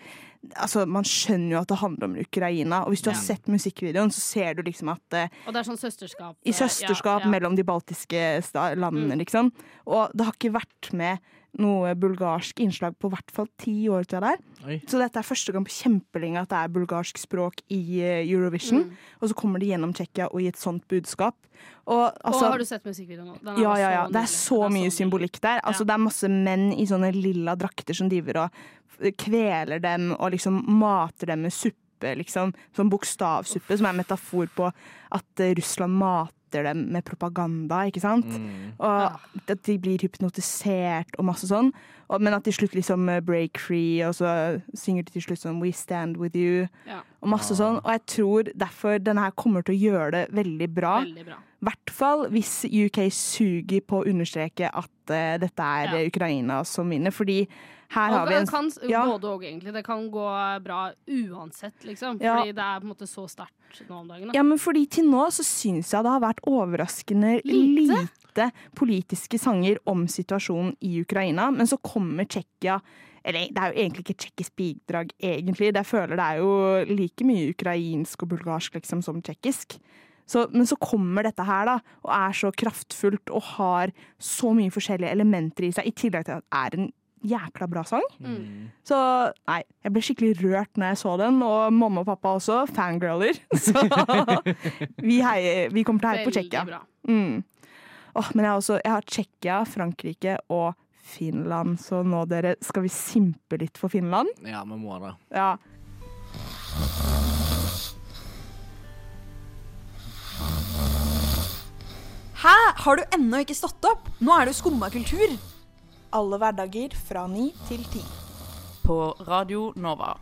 B: Altså, Man skjønner jo at det handler om Ukraina, og hvis du har sett musikkvideoen, så ser du liksom at eh,
A: Og det er sånn søsterskap.
B: I
A: eh,
B: søsterskap
A: ja, Mm. ja.
B: mellom de baltiske sta- landene, liksom. Og det har ikke vært med noe bulgarsk innslag på i hvert fall ti år til der.
C: Oi.
B: Så dette er første gang på kjempelenge at det er bulgarsk språk i eh, Eurovision.
A: Mm.
B: Og så kommer de gjennom Tsjekkia og i et sånnt budskap. Og altså
A: og har du sett musikkvideoen nå? Den er
B: ja,
A: bare
B: ja, ja.
A: så
B: Det er
A: nydelig.
B: så
A: Den er
B: mye
A: nydelig.
B: symbolikk der. Altså,
A: Ja.
B: Det er masse menn i sånne lilla drakter som driver og f- kveler dem og liksom mater dem med suppe, liksom. Sånn bokstavsuppe, som er en metafor på at eh, Russland mater dem med propaganda, ikke sant?
C: Mm.
B: Og at de blir hypnotisert og masse sånn. Og, men at de slutt liksom eh, break free, og så synger de til slutt sånn We stand with you,
A: Ja.
B: og masse sånn. Og jeg tror derfor denne her kommer til å gjøre det veldig bra
A: Veldig bra.
B: hvert fall hvis UK suger på å understreke at eh, dette er
A: Ja.
B: eh, Ukraina som vinner. Fordi her har
A: Og
B: vi
A: det
B: en
A: kan,
B: ja.
A: Både og, egentlig. Det kan gå bra uansett, liksom.
B: Ja.
A: Fordi det er på en måte så sterkt nå om dagen. Da.
B: Ja, men fordi til nå så syns jeg det har vært overraskende lite,
A: Lite?
B: politiske sanger om situasjonen i Ukraina, men så kommer Tsjekkia eller Det er jo egentlig ikke et tsjekkisk bidrag, egentlig. Det jeg føler det er jo like mye ukrainsk og bulgarsk liksom, som tsjekkisk. Så, men så kommer dette her, da, og er så kraftfullt og har så mye forskjellige elementer i seg, i tillegg til at det er en jækla bra sang. Så nei, jeg ble skikkelig rørt når jeg så den, og mamma og pappa også, fangirler. *laughs* Så vi, heier, vi kommer til å heie på
A: Veldig
B: Tsjekkia.
A: bra.
B: Mm. Åh, men jeg har også jeg har Tsjekkia, Frankrike og Finland, så nå dere skal vi simpe litt for Finland.
C: Ja, vi må det.
B: Ja.
J: Hæ? Har du ennå ikke stått opp? Nå er det jo skumma kultur.
B: Alle hverdager fra ni til ti.
K: På Radio Nova.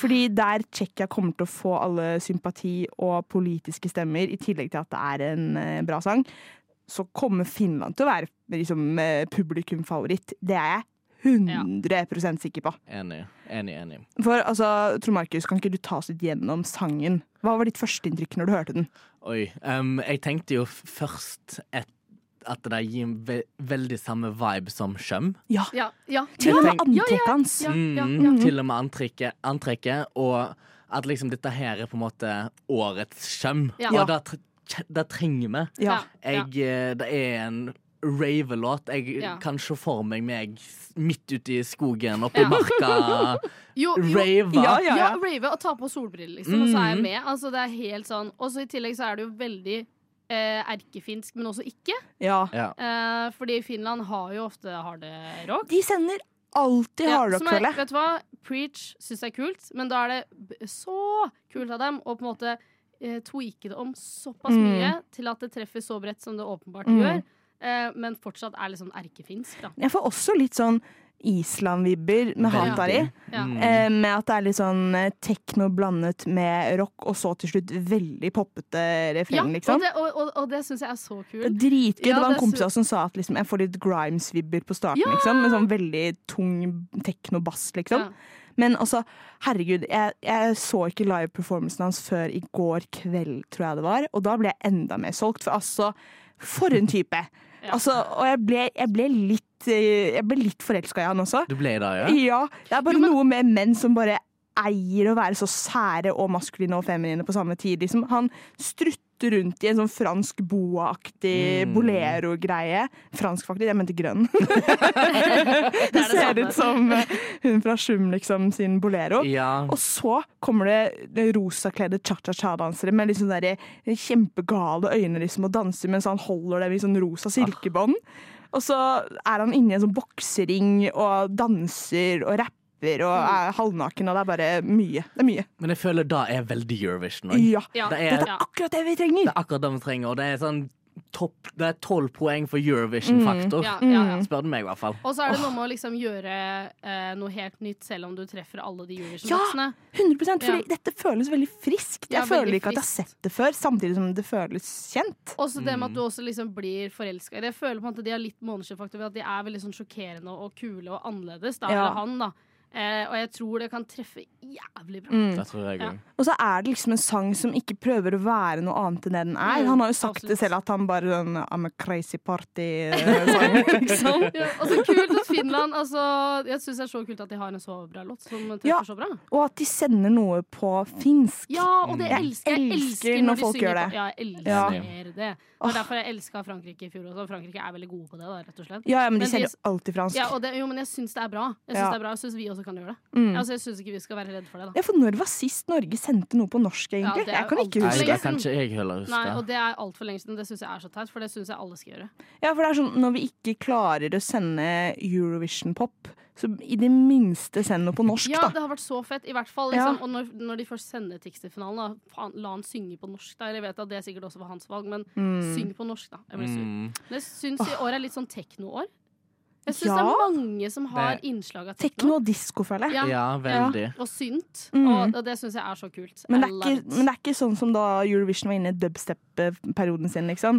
B: Fordi der Tsjekkia kommer til å få alle sympati og politiske stemmer, i tillegg til at det er en eh, bra sang, så kommer Finland til å være liksom, eh, publikumfavoritt. Det er jeg 100 sikker på.
C: Enig. Enig, enig.
B: For altså, Trond Markus, kan ikke du ta oss litt gjennom sangen? Hva var ditt førsteinntrykk når du hørte den?
C: Oi. em, jeg tenkte jo f- først et, at det der gir en ve veldig samme vibe som Skjøm.
B: Ja.
A: Ja, ja.
B: Til og med
A: Ja, ja,
B: antrekket hans.
A: Ja, ja,
C: Mm,
A: ja.
C: Til og med antrekket, antrekket. Og at liksom dette her er på en måte årets Skjøm.
A: Ja.
C: Og det, tr- det trenger vi.
B: Ja.
C: Jeg, eh, det er en ravelåt. Jeg
A: Ja.
C: kan se for meg meg s- midt ute i skogen, oppe
A: Ja.
C: i marka.
A: *laughs* Jo, jo.
C: Rave.
A: Ja, ja,
C: Ja,
B: ja, Mm. ja.
A: rave og ta på solbriller, liksom, og så er jeg
C: Mhm.
A: med. Altså, det er helt sånn. Og så i tillegg så er det jo veldig eh, erkefinsk, men også ikke.
B: Ja.
C: Ja.
A: Eh, fordi Finland har jo ofte harde rock.
B: De sender alltid
A: Ja,
B: hardrock,
A: som er-
B: føler jeg.
A: Vet du hva? Preach syns jeg er kult, men da er det b- så kult av dem å på en måte eh, tweake det om såpass
B: Mm.
A: mye til at det treffer så bredt som det åpenbart
B: Mm.
A: gjør. Eh, men fortsatt er liksom erkefinsk, da.
B: Jeg får også litt sånn Island-vibber med
C: Veldig.
B: Hatari.
A: Ja.
C: Mm.
B: Eh, med at det er litt sånn eh, tekno blandet med rock, og så til slutt veldig poppete
A: Ja,
B: refreng,
A: og
B: liksom.
A: det, og, og, og det syns jeg er så
B: Det er
A: kult.
B: Dritgøy.
A: Ja,
B: det var
A: det
B: en
A: er
B: kompis
A: så-
B: av oss som sa at liksom, jeg får litt Grimes-vibber på starten,
A: Ja!
B: liksom. Med sånn veldig tung teknobass, liksom.
A: Ja.
B: Men altså, herregud, jeg, jeg så ikke live-performancen hans før i går kveld, tror jeg det var. Og da ble jeg enda mer solgt, for altså, for en type!
A: Ja.
B: Altså, og jeg ble, jeg ble litt, eh, jeg ble litt forelska i han også.
C: Du ble det, ja?
B: Ja, det er bare noe med menn som bare eier å være så sære og maskuline og feminine på samme tid. Liksom. Han strutter rundt i en sånn fransk boa-aktig
C: Mm.
B: bolero-greie. Fransk, faktisk. Jeg
A: *laughs*
B: mente grønn. *laughs*
A: Det
B: Det
A: er
B: ser
A: det
B: ut
A: samme.
B: som eh, hun fra Sjum, liksom, sin bolero.
C: Ja.
B: Og så kommer det rosakledde cha-cha-cha-dansere med liksom der kjempegale øyne liksom, og danser mens han holder dem i sånn rosa silkebånd. Og så er han inni en sånn boksering og danser og rapper og
A: Mm.
B: er halvnaken, og det er bare mye. Det er mye.
C: Men jeg føler det er veldig Eurovision. også.
B: Ja.
A: Ja.
C: Det er-
B: Dette er
A: ja.
B: akkurat det vi
C: Det
B: trenger!
C: er akkurat det vi trenger, og det er sånn topp Det er tolv poeng for Eurovision-faktor.
A: Mm. Ja, ja,
B: Mm.
A: ja.
C: Spør du meg, i hvert fall.
A: Og så er det noe med å liksom gjøre eh, noe helt nytt, selv om du treffer alle de
B: Ja!
A: Eurovision-boksene.
B: 100 Fordi
A: Ja.
B: dette føles veldig friskt. Jeg
A: Ja,
B: føler
A: veldig
B: ikke at jeg har
A: friskt.
B: sett det før, samtidig som det føles kjent.
A: Også det med
B: Mm.
A: at du også liksom blir forelska i det. Jeg føler på en måte de har litt månedsskinnfaktor ved at de er veldig sånn sjokkerende og kule og annerledes. Da,
B: Ja.
A: eller han, da. Eh, og jeg tror det kan treffe jævlig bra.
B: Mm.
C: Det tror jeg
A: Ja.
C: òg.
B: Og så er det liksom en sang som ikke prøver å være noe annet enn det den er.
A: Mm,
B: Han har jo sagt det
A: absolutt.
B: selv, at han bare sånn I'm a crazy
A: *laughs*
B: party-sang, liksom.
A: *laughs* Ja, og så kult at Finland altså, Jeg syns det er så kult at de har en så bra låt som treffer
B: Ja.
A: så bra.
B: Og at de sender noe på finsk.
A: Ja, og det
B: Mm. Jeg
A: elsker jeg.
B: elsker
A: Elsker
B: når
A: når de
B: folk
A: synger
B: gjør det.
A: på Ja, jeg
B: Ja.
A: elsker det. Det
B: Åh.
A: er derfor jeg elska Frankrike i fjor også. Frankrike er veldig gode på det, da, rett og slett.
B: Ja, ja,
A: Men
B: men de
A: de-
B: selger alltid fransk.
A: Ja, og det, jo, men jeg syns det er bra. Jeg syns
B: Ja.
A: det er bra, jeg syns vi også kan gjøre det.
B: Mm.
A: Altså, jeg syns ikke vi skal være redde for det, da.
B: Ja, for når var sist Norge sendte noe på norsk, egentlig?
A: Ja, det er
B: jeg kan
A: jo
B: ikke
C: Nei,
A: alltid
B: huske.
A: lenge
C: det kan ikke jeg heller huske.
A: Nei, og det er altfor lenge siden. Det syns jeg er så teit, for det syns jeg alle skal gjøre.
B: Ja, for det er sånn, når vi ikke klarer å sende Eurovision-pop, så i det minste send noe på norsk,
A: Ja,
B: da.
A: det har vært så fett. I hvert fall,
B: Ja.
A: liksom, Og når, når de først sender Tix til finalen, da, faen, la han synge på norsk. Da. Eller jeg vet at det sikkert også var hans valg, men
B: Mm.
A: syng på norsk, da. Jeg blir sur.
C: Mm.
A: Men jeg syns i år er litt sånn tekno-år. Jeg syns det
B: Ja.
A: er mange som har
C: Det-
A: innslag av
B: Tekno
A: tekno.
B: og disko, føler jeg.
A: Ja,
C: Ja, veldig.
A: Og synt.
B: Mm.
A: Og, og det syns jeg er så kult.
B: Men det,
A: I
B: er
A: love
B: ikke,
A: it.
B: men det er ikke sånn som da Eurovision var inne i dubstep-perioden sin,
A: *laughs*
B: liksom.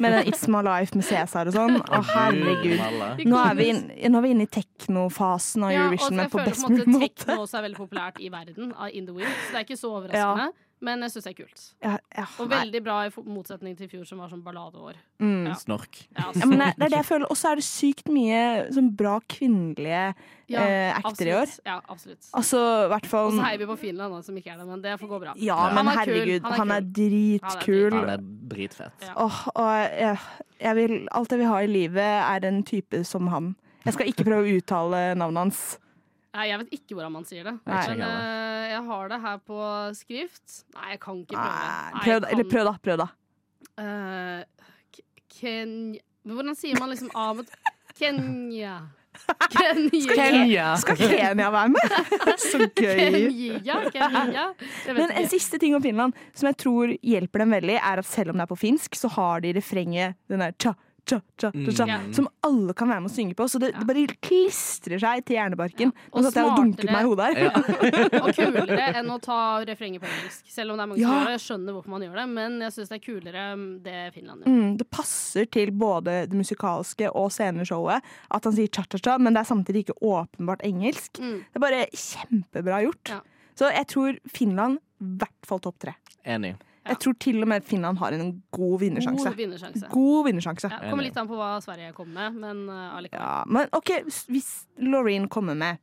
B: Med den It's My Life med Cæsar og sånn. Å, herregud.
C: Malle.
A: Vi
B: Nå
A: kommer
B: er vi,
A: ut-
B: inn, nå er vi inne i teknofasen av
A: Ja, og
B: Eurovision,
A: jeg
B: men på
A: føler
B: best
A: en
B: mulig måte.
A: Tekno også er veldig populært i verden, av In The Wind, så det er ikke så overraskende. Men jeg syns det er kult.
B: Ja, ja,
A: Og
B: nei.
A: veldig bra i fo- motsetning til i fjor, som var sånn balladeår.
B: Mm.
A: Ja.
C: Snork.
A: Ja,
B: Ja, men det det er det jeg føler. Og så er det sykt mye sånn bra kvinnelige
A: Ja,
B: eh, actere i år.
A: absolutt. Ja, absolutt.
B: Altså, i hvert fall
A: Og så heier vi på Finland, da, som ikke er det, men det får gå bra.
B: Ja,
C: Ja.
B: men
A: Han er kul,
B: herregud,
A: han er
B: han er
A: kul.
B: dritkul.
C: Han er dritfett.
A: Ja.
B: Åh, og jeg, jeg vil, alt jeg vil ha i livet, er en type som han. Jeg skal ikke prøve å uttale navnet hans.
A: Nei, jeg vet ikke hvordan man sier det.
C: Nei.
A: Men eh, jeg har det her på skrift. Nei, jeg kan ikke prøve.
B: Nei,
A: Nei,
B: prøv,
A: jeg
B: da- eller
A: kan-
B: prøv, da. Prøv, da.
A: Eh, K- Ken... Men hvordan sier man liksom av med Kenya? Kenya.
B: Skal Kenya
A: *laughs*
B: være med? Så gøy.
A: Kenya, Kenya. Jeg vet
B: *laughs* Men en
A: ikke.
B: siste ting om Finland som jeg tror hjelper dem veldig, er at selv om det er på finsk, så har de i refrenget den der tja, tja, tja, tja, tja,
A: Mm.
B: som alle kan være med å synge på. Så det, det bare klistrer seg til hjernebarken.
A: Og
B: Nå satt jeg og dunket meg i hodet her.
A: Ja. og kulere enn å ta refrenget på engelsk. Selv om det er mange som
B: Ja.
A: gjør det, jeg skjønner hvorfor man gjør det, men jeg syns det er kulere mm, det Finland gjør.
B: Mm, det passer til både det musikalske og sceneshowet at han sier cha-cha-cha, men det er samtidig ikke åpenbart engelsk.
A: Mm.
B: Det er bare kjempebra gjort. Så jeg tror Finland i hvert fall topp tre.
C: Enig.
B: Jeg tror til og med Finland har en god vinnersjanse.
A: God vinnersjanse.
B: God vinnersjanse.
A: Ja, kommer litt an på hva Sverige kommer med, men eh, allikevel.
B: Ja, men OK, hvis Loreen kommer med,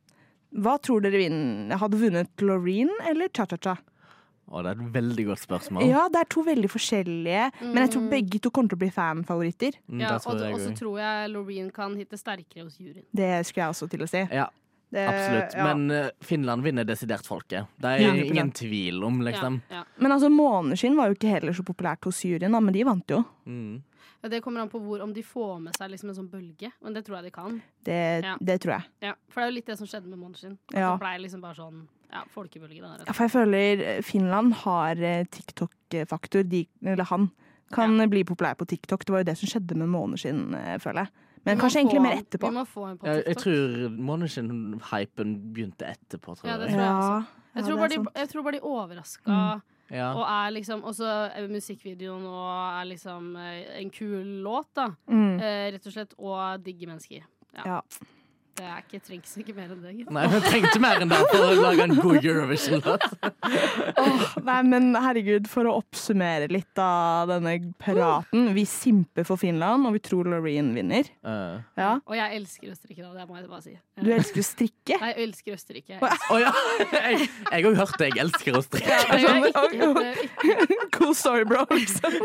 B: hva tror dere vinner? Hadde vunnet Loreen eller cha-cha-cha?
C: Å, det er et veldig godt spørsmål.
B: Ja, det er to veldig forskjellige, men jeg tror
A: Mm.
B: begge to kommer til å bli fanfavoritter.
C: Mm,
A: Ja, og, og så tror jeg Loreen kan hitte sterkere hos juryen.
B: Det skulle jeg også til å si.
C: Ja,
B: Det-
C: absolutt.
B: ja.
C: Men eh, Finland vinner desidert folket. Det er
B: 100%.
C: ingen tvil om, liksom.
B: Men altså, måneskinn var jo ikke heller så populært hos juryen, da, men de vant jo.
C: Mm.
A: Ja, Det kommer an på hvor, om de får med seg liksom en sånn bølge, men det tror jeg de kan.
B: Det,
A: Ja.
B: det tror jeg.
A: Ja, For det er jo litt det som skjedde med Monsin.
B: Ja.
A: Det blei liksom bare sånn ja, folkebølge. Da, rett og
B: Ja, for jeg føler eh, Finland har eh, TikTok-faktor, de, eller han, kan eh, bli populær på TikTok. Det var jo det som skjedde med måneskinn, eh, føler jeg.
A: Vi
B: Men
A: må
B: kanskje
A: få
B: egentlig mer
A: han-
B: etterpå.
A: Vi må få en på
C: Jeg, jeg
A: TikTok.
C: tror Monation-hypen begynte etterpå, tror
A: Ja, det
C: jeg.
A: tror jeg også.
B: ja,
A: Jeg tror
B: det
A: bare
B: er
A: de,
B: sånn. sant.
A: jeg tror bare de overraska.
C: Mm. Ja.
A: Og er liksom Også eh, musikkvideoen og er liksom eh, en kul låt, da.
B: Mm.
A: Eh, rett og slett. Og digge mennesker. Ja.
B: Ja.
A: Det er ikke, trengs ikke mer enn det. gitt.
C: Nei, men trengte mer enn det for å lage en god Eurovision-låt.
B: Åh, nei, men herregud, for å oppsummere litt av denne praten. Vi simper for Finland, og vi tror Loreen vinner.
C: *laughs* Eh.
B: Ja.
A: Og jeg elsker Østerrike, da. Det må jeg bare si. Eh,
B: Du elsker å strikke?
A: Nei, jeg elsker Østerrike.
B: Å,
C: Å ja! Jeg jeg har hørt det. Jeg elsker å strikke.
A: Ja, det
B: *laughs*
A: gjør jeg eh, ikke. Det gjør jeg ikke.
B: Cool story, bro, liksom.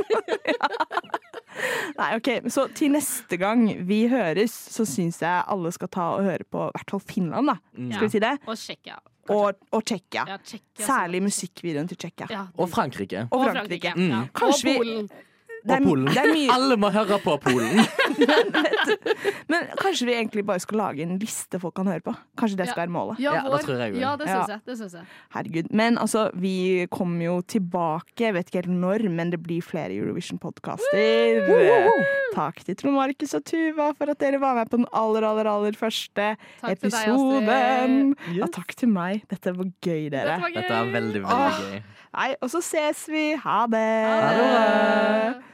B: *laughs* Nei, ok, så til neste gang vi høres, så syns jeg alle skal ta og høre på i hvert fall Finland, da. Skal
C: Mm.
B: vi si det?
A: Og Tsjekkia.
B: Og, og Tsjekkia.
A: Ja, Tsjekkia,
B: Særlig musikkvideoen til Tsjekkia.
A: Ja.
C: Og Frankrike.
B: Og Frankrike.
C: Mm.
A: Ja.
B: Kanskje
A: og
B: vi-
A: Polen.
B: Det er-
C: og Polen.
B: det er mye-
C: *laughs* Alle må høre på
A: *laughs*
C: Polen.
B: Men kanskje vi egentlig bare skal lage en liste folk kan høre på? Kanskje det skal være målet?
A: Ja, vår, ja det syns jeg. Det syns jeg.
B: Herregud. Men altså, vi kommer jo tilbake, jeg vet ikke helt når, men det blir flere Eurovision-podkaster. Takk til Trond Markus og Tuva for at dere var med på den aller, aller, aller første
A: Takk til deg,
B: episoden. ja, takk til meg. Dette var gøy, dere.
A: Dette var gøy.
C: Dette er veldig,
B: Åh.
C: veldig gøy.
B: Nei, og så ses vi. Ha det. Ha det.